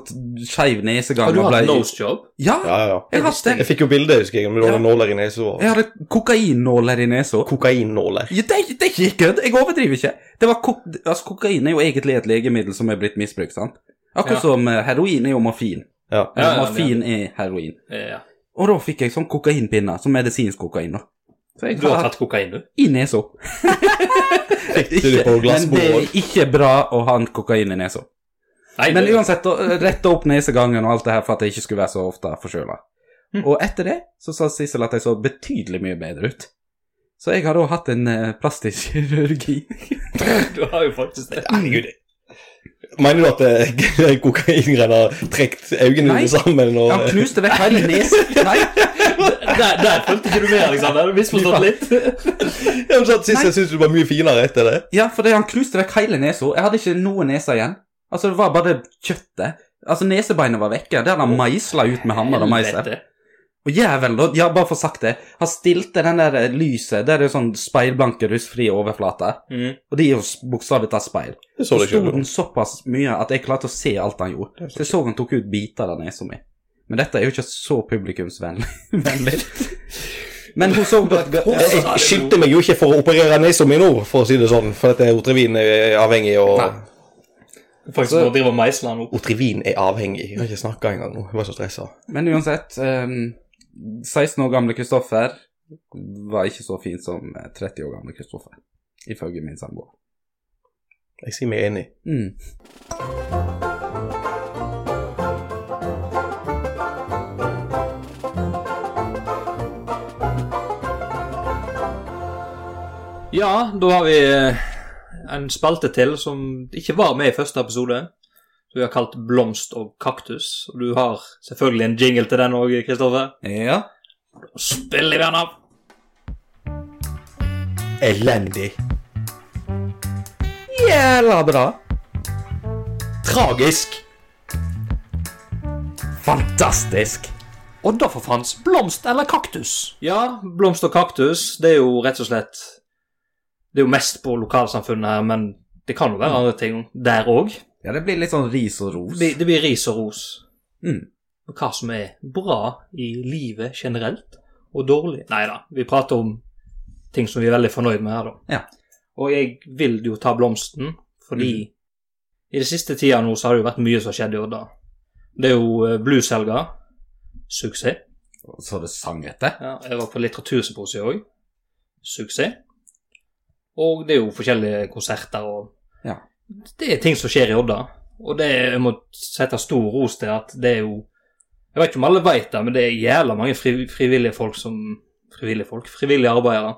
S2: skeiv nesegang.
S5: Har du
S2: og
S5: hatt
S2: ble-
S5: nose job?
S2: Ja,
S4: Ja, ja,
S2: jeg
S4: ja.
S2: har hatt det.
S4: Jeg fikk jo bilde, husker jeg, om du hadde
S2: Ja.
S4: nåler i nesa.
S2: Jeg hadde kokainnåler i nesa.
S4: Kokainnåler.
S2: Ja, det, det er ikke kødd! Jeg overdriver ikke. Det var kok altså, kokain er jo egentlig et legemiddel som er blitt misbrukt, sant? Akkurat
S5: Ja.
S2: som eh, heroin er jo morfin.
S4: Ja.
S5: Ja, ja, ja.
S2: morfin er heroin.
S5: Ja.
S2: Og da fikk jeg sånn kokainpinner, som medisinsk kokain, da. Så jeg
S5: Du har tatt kokain, du?
S2: i nesa.
S4: Du er på
S2: Men det
S4: glassbordet.
S2: er ikke bra å ha en kokain i nesa.
S5: Nei,
S2: Men
S5: det-
S2: uansett, da retta opp nesegangen og alt det her for at jeg ikke skulle være så ofte forkjøla.
S4: Hm.
S2: Og etter det så sa Sissel at jeg så betydelig mye bedre ut. Så jeg har da hatt en eh, plastisk *laughs* kirurgi.
S5: *laughs* Du har jo faktisk det.
S4: Herregud. Mener du at eh, *laughs* kokaingreiene har trukket øynene
S2: Nei.
S4: dine sammen? Og,
S2: Han knuste vekk hele nesa. Nei,
S5: Der, der fulgte ikke du med, Alexander. Du har misforstått litt.
S4: Ja, men sånn, Sist jeg syntes du var mye finere etter det.
S2: ja, for det, han knuste vekk hele nesa. Jeg hadde ikke noe nese igjen. Altså, det var bare kjøttet. Altså, nesebeinet var vekke. Der hadde han meisla ut med hammer og meisel.
S5: Helvete.
S2: Og jævel, da, ja, bare for sagt det, han stilte den der eh, lyset, der er jo sånn speilblanke, rusfrie overflater.
S5: Mhm.
S2: Og de er jo s- bokstavelig talt speil.
S4: Jeg så
S2: Så
S4: det
S2: sto
S4: selv.
S2: den såpass mye at jeg klarte å se alt han gjorde. Så jeg så han tok ut biter av nesa mi. Men dette er jo ikke så publikumsvennlig. Men hun så på et
S4: Jeg, *laughs* jeg skyndte meg jo ikke for å operere nesa mi nå, for å si det sånn. For at Otrevin er avhengig, og
S2: Nei.
S5: Faktisk
S4: Altså-
S5: nå driver meisler nå.
S4: Otrevin er avhengig. Jeg har ikke snakka engang nå. Jeg var så stressa.
S2: Men uansett, ehm, 16 år gamle Kristoffer var ikke så fin som eh, 30 år gamle Kristoffer, ifølge min samboer.
S4: Jeg sier meg enig.
S2: Mm.
S5: Ja, da har vi eh, en spalte til som ikke var med i første episode. Som vi har kalt Blomst og kaktus. Og du har selvfølgelig en jingle til den òg, Kristoffer.
S2: Ja.
S5: Spill i verden!
S4: Elendig.
S2: Jævla bra.
S4: Tragisk.
S2: Fantastisk.
S5: Odda, for fans. Blomst eller kaktus? Ja, blomst og kaktus, det er jo rett og slett Det er jo mest på lokalsamfunnet her, men det kan jo være andre ting der òg.
S2: Ja, det blir litt sånn ris og ros.
S5: Det, det blir ris og ros.
S2: Mm.
S5: Og hva som er bra i livet generelt, og dårlig. Nei da, vi prater om ting som vi er veldig fornøyd med her, da.
S2: Ja.
S5: Og jeg vil jo ta blomsten, fordi
S2: Mm.
S5: i det siste tida nå så har det jo vært mye som har skjedd i Odda. Det er jo eh, blueshelga. Suksess.
S2: Så det sang etter.
S5: Ja, jeg var på litteratursymposiet òg. Suksess. Og det er jo forskjellige konserter og
S2: Ja.
S5: Det er ting som skjer i Odda. Og det er, jeg må sette stor ros til at det er jo Jeg vet ikke om alle vet det, men det er jævla mange fri, frivillige folk som Frivillige folk? Frivillige arbeidere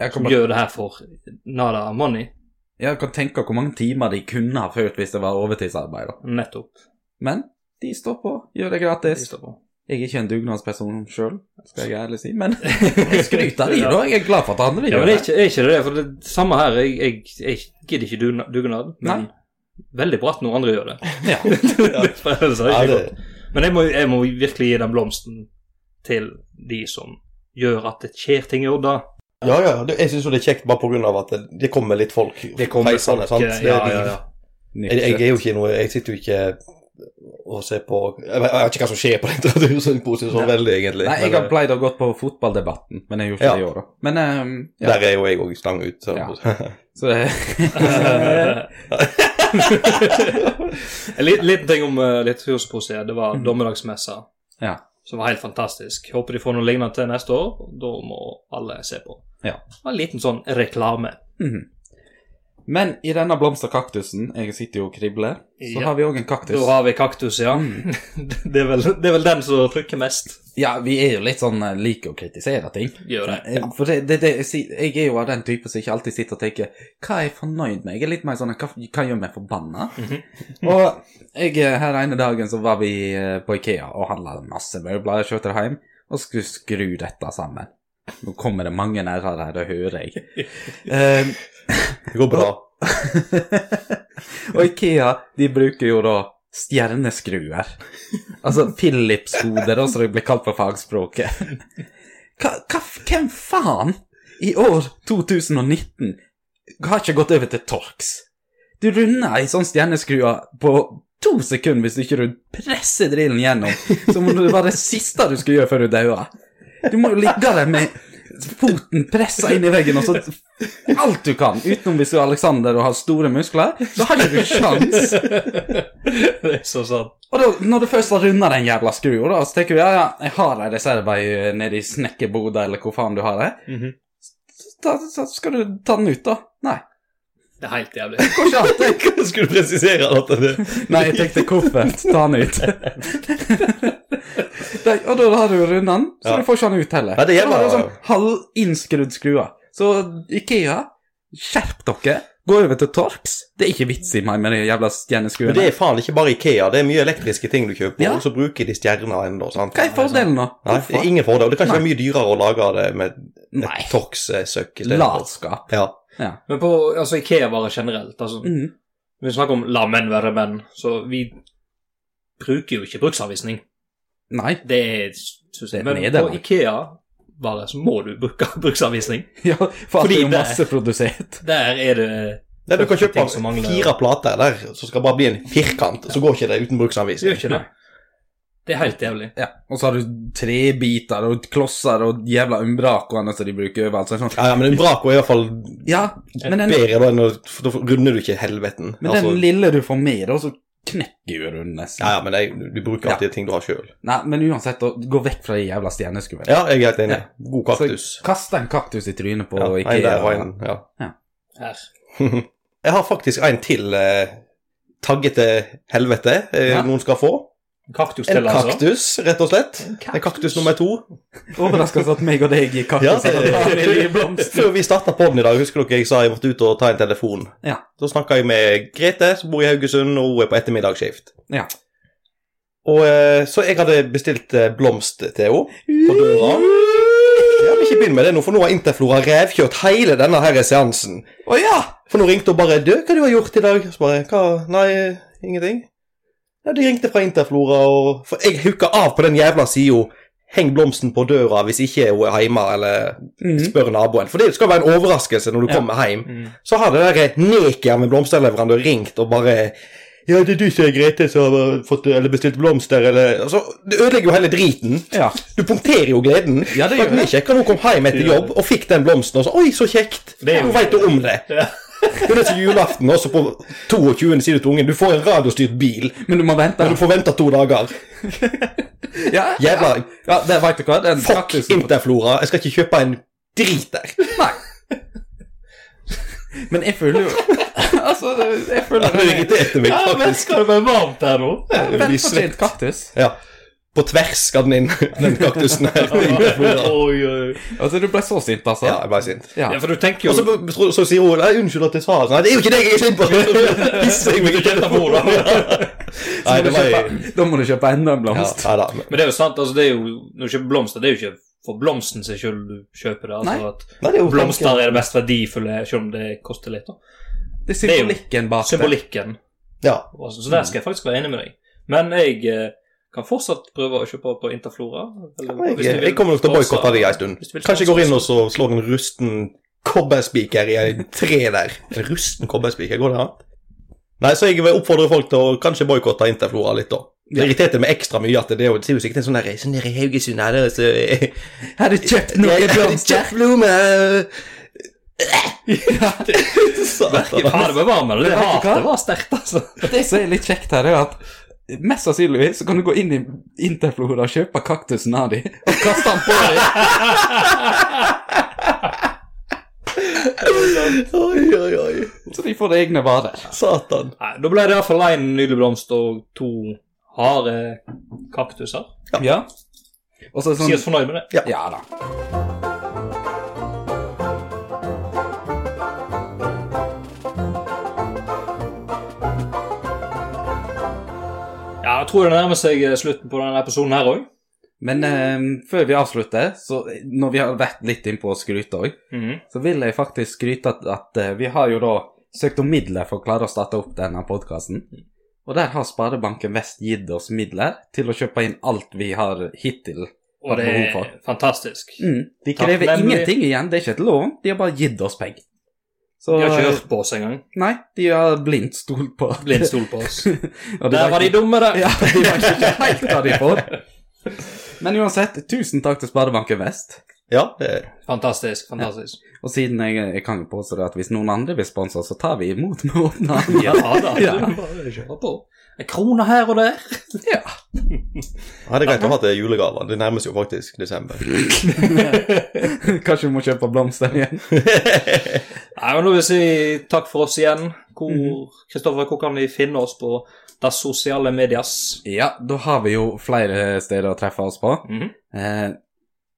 S2: Jeg
S5: som
S2: kan, bare,
S5: gjør det her for nada money.
S2: jeg kan tenke hvor mange timer de kunne ha ført hvis det var overtidsarbeid. da.
S5: Nettopp.
S2: Men de står på, gjør det
S5: Det
S2: gratis.
S5: står på.
S2: Jeg er ikke en dugnadsperson sjøl, skal jeg ærlig si,
S5: *laughs*
S2: men jeg skryter av de, da. Jeg er glad for at andre
S5: Ja,
S2: gjør
S5: men det er
S2: det.
S5: ikke, er ikke det, for det samme her. Jeg, jeg, jeg gidder ikke dugna- dugnad, men
S2: Nei.
S5: veldig bra at noen andre gjør *laughs* det.
S2: Ja.
S5: For ellers hadde
S4: Ja,
S5: jeg ikke
S4: det,
S5: gått. Men jeg må, jeg må virkelig gi den blomsten til de som gjør at det skjer ting i Odda.
S4: Ja, ja. det- Jeg syns jo det er kjekt bare på grunn av at det, det kommer litt folk
S5: Det kommer
S4: peisende,
S5: folk,
S4: sant?
S5: eh,
S4: Det-
S5: ja, ja, ja. *laughs*
S4: Jeg, jeg er jo ikke noe Jeg sitter jo ikke og ser på Jeg vet jeg vet ikke hva som skjer på litteratursymposiet så veldig, egentlig.
S2: Nei, jeg
S4: men, eh,
S2: har pleid å gå på fotballdebatten, men jeg gjorde ikke
S4: Ja.
S2: det i år, da. Men ehm,
S4: eh, Der er jo jeg òg stang ut. Så.
S2: Ja. Så *laughs* det
S5: En li- liten ting om uh, litteraturspose. Det var dommedagsmessa,
S2: Ja.
S5: som var helt fantastisk. Håper de får noe lignende til neste år. og Da må alle se på.
S2: Ja.
S5: Det var En liten sånn reklame.
S2: Men i denne blomsterkaktusen jeg sitter jo og kribler, så
S5: Ja.
S2: har vi òg en kaktus. Mm.
S5: Da har vi kaktus, ja. *laughs* det, er vel, det er vel den som trykker mest.
S2: Ja, vi er jo litt sånn eh, liker å kritisere ting.
S5: Gjør det.
S2: Eh, For det, det, det, jeg, sier- jeg er jo av den type som ikke alltid sitter og tenker hva er jeg fornøyd med? Jeg er litt mer sånn hva, hva gjør meg forbanna?
S5: Mhm.
S2: *laughs* og jeg, eh, her ene dagen så var vi eh, på Ikea og handla masse møbler, kjørte det hjem og skulle skru dette sammen. Nå kommer det mange nærmere her, det hører jeg.
S5: *laughs*
S2: Eh,
S4: *laughs* Det går bra.
S2: og Ikea, de bruker jo da stjerneskruer. Altså Philips-hoder, da, som det blir kalt på fagspråket. Hva, hva, f- hvem faen i år 2019 har ikke gått over til Torx? Du runder ei sånn stjerneskrue på to sekunder hvis du ikke du presser drillen gjennom, som om det var det siste du skulle gjøre før du daua. Du må jo ligge der med foten pressa inn i veggen og så alt du kan. Utenom hvis du er Alexander og har store muskler, så har ikke du sjans.
S5: *laughs* Det er så sant.
S2: Og da, når du først har runda den jævla skrua, da, så tenker du ja, ja, jeg har ei reserve i- eh, nede i snekkerboda, eller hvor faen du har det.
S4: Mhm.
S2: så, da, så skal du ta den ut, da. Nei.
S5: Det er helt jævlig.
S2: Går ikke an. det-
S4: Hva skulle du presisere at det
S2: *laughs* Nei, jeg tenkte koffert. Ta den
S4: *laughs*
S2: ut. Nei, og da har du runda den, så
S4: Ja.
S2: du får ikke den ut heller.
S4: Nei, det gjelder-
S2: Da har du sånn halvinnskrudd skrua. Så Ikea, skjerp dere. Gå over til Torx. Det er ikke vits i meg med de jævla stjerneskruene.
S4: Men det er faen ikke bare Ikea. Det er mye elektriske ting du kjøper,
S2: Ja.
S4: og så bruker de stjerner ennå. sant?
S2: Hva er fordelen, da?
S4: Nei, det er ingen fordel. Og det kan ikke være mye dyrere å lage det med
S2: Nei.
S4: et Torx-søkk istedenfor.
S2: Latskap.
S4: Ja.
S5: Men på altså, Ikea-varer generelt altså,
S2: Mhm.
S5: Vi snakker om la menn være menn, så vi bruker jo ikke bruksanvisning.
S2: Nei.
S5: Det er, synes
S2: Det er
S5: jeg.
S2: et
S5: Men på
S2: nederlag.
S5: Ikea-varer så må du bruke *laughs* bruksanvisning.
S2: *laughs* Ja, for at
S5: Fordi
S2: det er jo
S5: det-
S2: masseprodusert.
S5: Der er det
S4: Nei, du kan
S5: Ting
S4: kjøpe
S5: som mangler.
S4: fire plater der, så skal det bare bli en firkant. Så går ikke det
S5: Det
S4: uten
S5: gjør
S4: bruksanvisning.
S5: ikke det. Det er helt jævlig.
S2: Ja, Og så har du trebiter og klosser og jævla umbraco og annet som de bruker overalt. så er det sånn.
S4: Ja, ja, men en braco er iallfall
S2: Ja, men den,
S4: bedre da enn å for Da runder du ikke helveten.
S2: men den lille du får med, da, så knekker jo du nesten.
S4: altså- Ja, ja, men jeg, du bruker alltid ting du har sjøl.
S2: Nei, men uansett, da, gå vekk fra de jævla stjerneskuene.
S4: Ja, jeg er helt enig. God kaktus.
S2: Kast en kaktus i trynet på
S4: Ja, en
S2: Ikea.
S4: der og en, ja.
S5: Her.
S4: Jeg har faktisk en til eh, taggete helvete eh,
S2: Ja.
S4: noen skal få.
S5: Kaktus
S4: En
S5: til, altså.
S4: kaktus, rett og slett. En kaktus nummer to.
S2: Overraskende at meg og deg gikk
S4: Ja,
S2: kaktus.
S4: det- Før vi starta podden i dag, husker dere jeg sa jeg måtte ut og ta en telefon?
S2: Ja.
S4: Da snakka jeg med Grete, som bor i Haugesund, og hun er på ettermiddagsskift.
S2: Ja.
S4: Og eh, Så jeg hadde bestilt eh, blomst til henne på døra. Ja, men Ikke begynn med det nå, for nå har Interflora revkjørt hele denne her seansen.
S2: Å ja!
S4: For nå ringte hun bare 'Du, hva du har gjort i dag?' Så bare 'Hva? Nei, ingenting'. Ja, De ringte fra Interflora, og for jeg hooka av på den jævla sida 'Heng blomsten på døra hvis ikke hun er hjemme', eller
S2: Mhm.
S4: spør naboen. For det skal være en overraskelse når du kommer hjem. Så har det der Nekia med blomsterleverandør ringt og bare ja, det er du som er Grete som har fått, eller bestilt blomster, eller altså, Det ødelegger jo hele driten.
S2: Ja.
S4: Du punkterer jo gleden.
S2: Ja, det
S4: For
S2: gjør
S4: at vi sjekka hun kom hjem etter jobb og fikk den blomsten, og så Oi, så kjekt!
S5: er jo-
S4: Hun veit jo om det. Det er det som julaften, også på 22. sier du til ungen du får en radiostyrt bil,
S2: Men du må vente.
S4: men du får vente to dager.
S2: Ja,
S4: Jævla
S2: ja det veit du hva. Den
S4: fuck
S2: kaktusen
S4: Interflora. Jeg skal ikke kjøpe en drit der.
S2: Men jeg føler jo *laughs* Altså, det- jeg føler
S4: Det irriterte meg faktisk.
S5: skal det være varmt her nå?
S4: Jeg blir svett.
S2: Velfortjent kaktus.
S4: Ja. På tvers skal den inn, *laughs* den kaktusen her.
S5: Oi, oi.
S2: Altså, du ble så sint, altså?
S4: ja, jeg ble sint.
S2: Ja.
S5: Ja, for du tenker jo
S4: Og så, så, så sier hun «Nei, 'unnskyld at jeg sa det'. Nei, det er jo ikke deg jeg er sint på! Så Hisser jeg meg ikke på *laughs* Nei,
S2: Da må
S4: det
S2: du
S4: var ja,
S2: kjøpe- Da må du kjøpe enda en blomst.
S4: nei da.
S5: Men det er jo sant, altså, det er jo, når du kjøper blomster, det er jo ikke for blomsten sin skyld du kjøper det. altså
S2: Nei.
S5: at
S4: Nei, det er jo
S5: Blomster er det mest verdifulle, selv om det koster litt. da.
S2: Det er
S5: er jo
S2: symbolikken bak det.
S5: Symbolikken. Altså,
S4: Ja. Mm.
S5: og sånn, Så der skal jeg faktisk være enig med deg. Men jeg eh,
S7: Kan fortsatt prøve å kjøpe på Interflora. eller
S4: Jeg,
S7: hvis du vil
S4: jeg kommer nok til å
S7: sponse-
S4: boikotte de en stund.
S7: Hvis du vil sånn
S4: Kanskje jeg går
S7: sponse-
S4: inn og så slår en rusten kobberspiker i et tre der. En rusten kobberspiker, går det an? Nei, så jeg vil oppfordre folk til å kanskje boikotte Interflora litt, da. Det irriterte meg ekstra mye at det er jo det er jo sikkert en sånn der Sånn der i Haugesund her, det er så
S2: Har du kjøpt noe blomster?
S4: blomster?
S5: Ja, det var varmere. Det
S2: Vet du hva?
S5: hatet var sterkt, altså.
S2: Det som er litt kjekt her, er at mest sannsynligvis så kan du gå inn i Interflora og kjøpe kaktusen av de, og kaste den på deg.
S4: Oi, oi, oi.
S2: Så de får egne varer.
S4: Satan.
S5: Nei, da ble det iallfall én nydelig blomst og to harde kaktuser.
S2: Ja. Og så er det
S5: Si oss
S2: sånn
S5: fornøyd med det.
S2: Ja da.
S5: Ja, jeg tror det nærmer seg eh, slutten på denne episoden her òg.
S2: Men eh, før vi avslutter, så når vi har vært litt innpå å skryte òg, så vil jeg faktisk skryte at, at eh, vi har jo da søkt om midler for å klare å starte opp denne podkasten. Og der har Sparebanken Vest gitt oss midler til å kjøpe inn alt vi har hittil.
S5: Og det
S2: Behov
S5: er
S2: for.
S5: fantastisk.
S2: Mm. De
S5: Takk,
S2: krever
S5: nemlig.
S2: ingenting igjen, det er ikke et lån, de har bare gitt oss penger. Så
S5: De har ikke hørt på oss engang.
S2: Nei, de har blindt stolt på at-
S5: Blind stol på oss.
S2: *laughs* Og
S5: *laughs* Der var de dumme, der.
S2: Ja, de vet ikke
S5: *laughs*
S2: helt hva de får. Men uansett, tusen takk til Sparebanken Vest.
S4: Ja, det er
S5: Fantastisk. fantastisk.
S2: Og siden jeg, jeg kan jo påstå det at hvis noen andre vil sponse, så tar vi imot med åpne armer.
S5: *laughs* Ja da,
S2: Ja.
S5: du bare kjører på. En krone her og der.
S2: Ja.
S4: Ja, det er greit å ha til julegaver. Det nærmer seg jo faktisk desember.
S2: *laughs* Kanskje vi må kjøpe blomster igjen.
S5: Nei, men Nå vil jeg si takk for oss igjen. Hvor, Kristoffer, hvor kan vi finne oss på de sosiale medias?
S2: *laughs* Ja, da har vi jo flere steder å treffe oss på.
S5: Mhm.
S2: eh,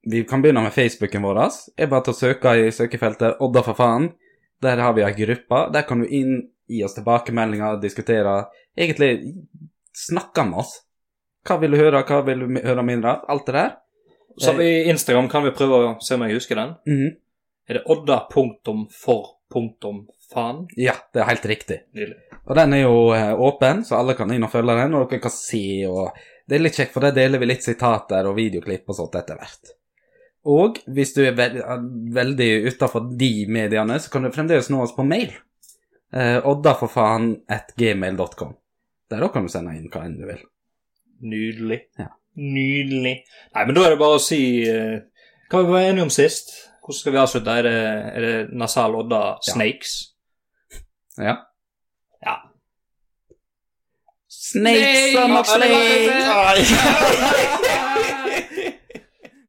S2: vi kan begynne med Facebooken vår. Det er bare til å søke i søkefeltet 'Odda for faen'. Der har vi ei gruppe. Der kan du inn, gi oss tilbakemeldinger, diskutere Egentlig snakke med oss. Hva vil du høre, hva vil du mi- høre mindre av? Alt det der.
S5: Så har vi Instagram kan vi prøve å se om jeg husker den.
S2: Mhm.
S5: Er det odda.for.faen?
S2: Ja, det er helt riktig.
S5: Nydelig.
S2: Og den er jo eh, åpen, så alle kan inn og følge den, og dere kan se og Det er litt kjekt, for der deler vi litt sitater og videoklipp og sånt etter hvert. Og hvis du er vel- er veldig utafor de mediene, så kan du fremdeles nå oss på mail. Eh, Oddaforfaen.gmail.com. Der òg kan du sende inn hva enn du vil.
S5: Nydelig.
S2: Ja.
S5: Nydelig. Nei, men da er det bare å si eh, Hva vi var enige om sist? Hvordan skal vi avslutte? Er det, er det nasal odda snakes?
S2: Ja.
S5: Ja.
S2: Snakes on a plane!
S5: *laughs*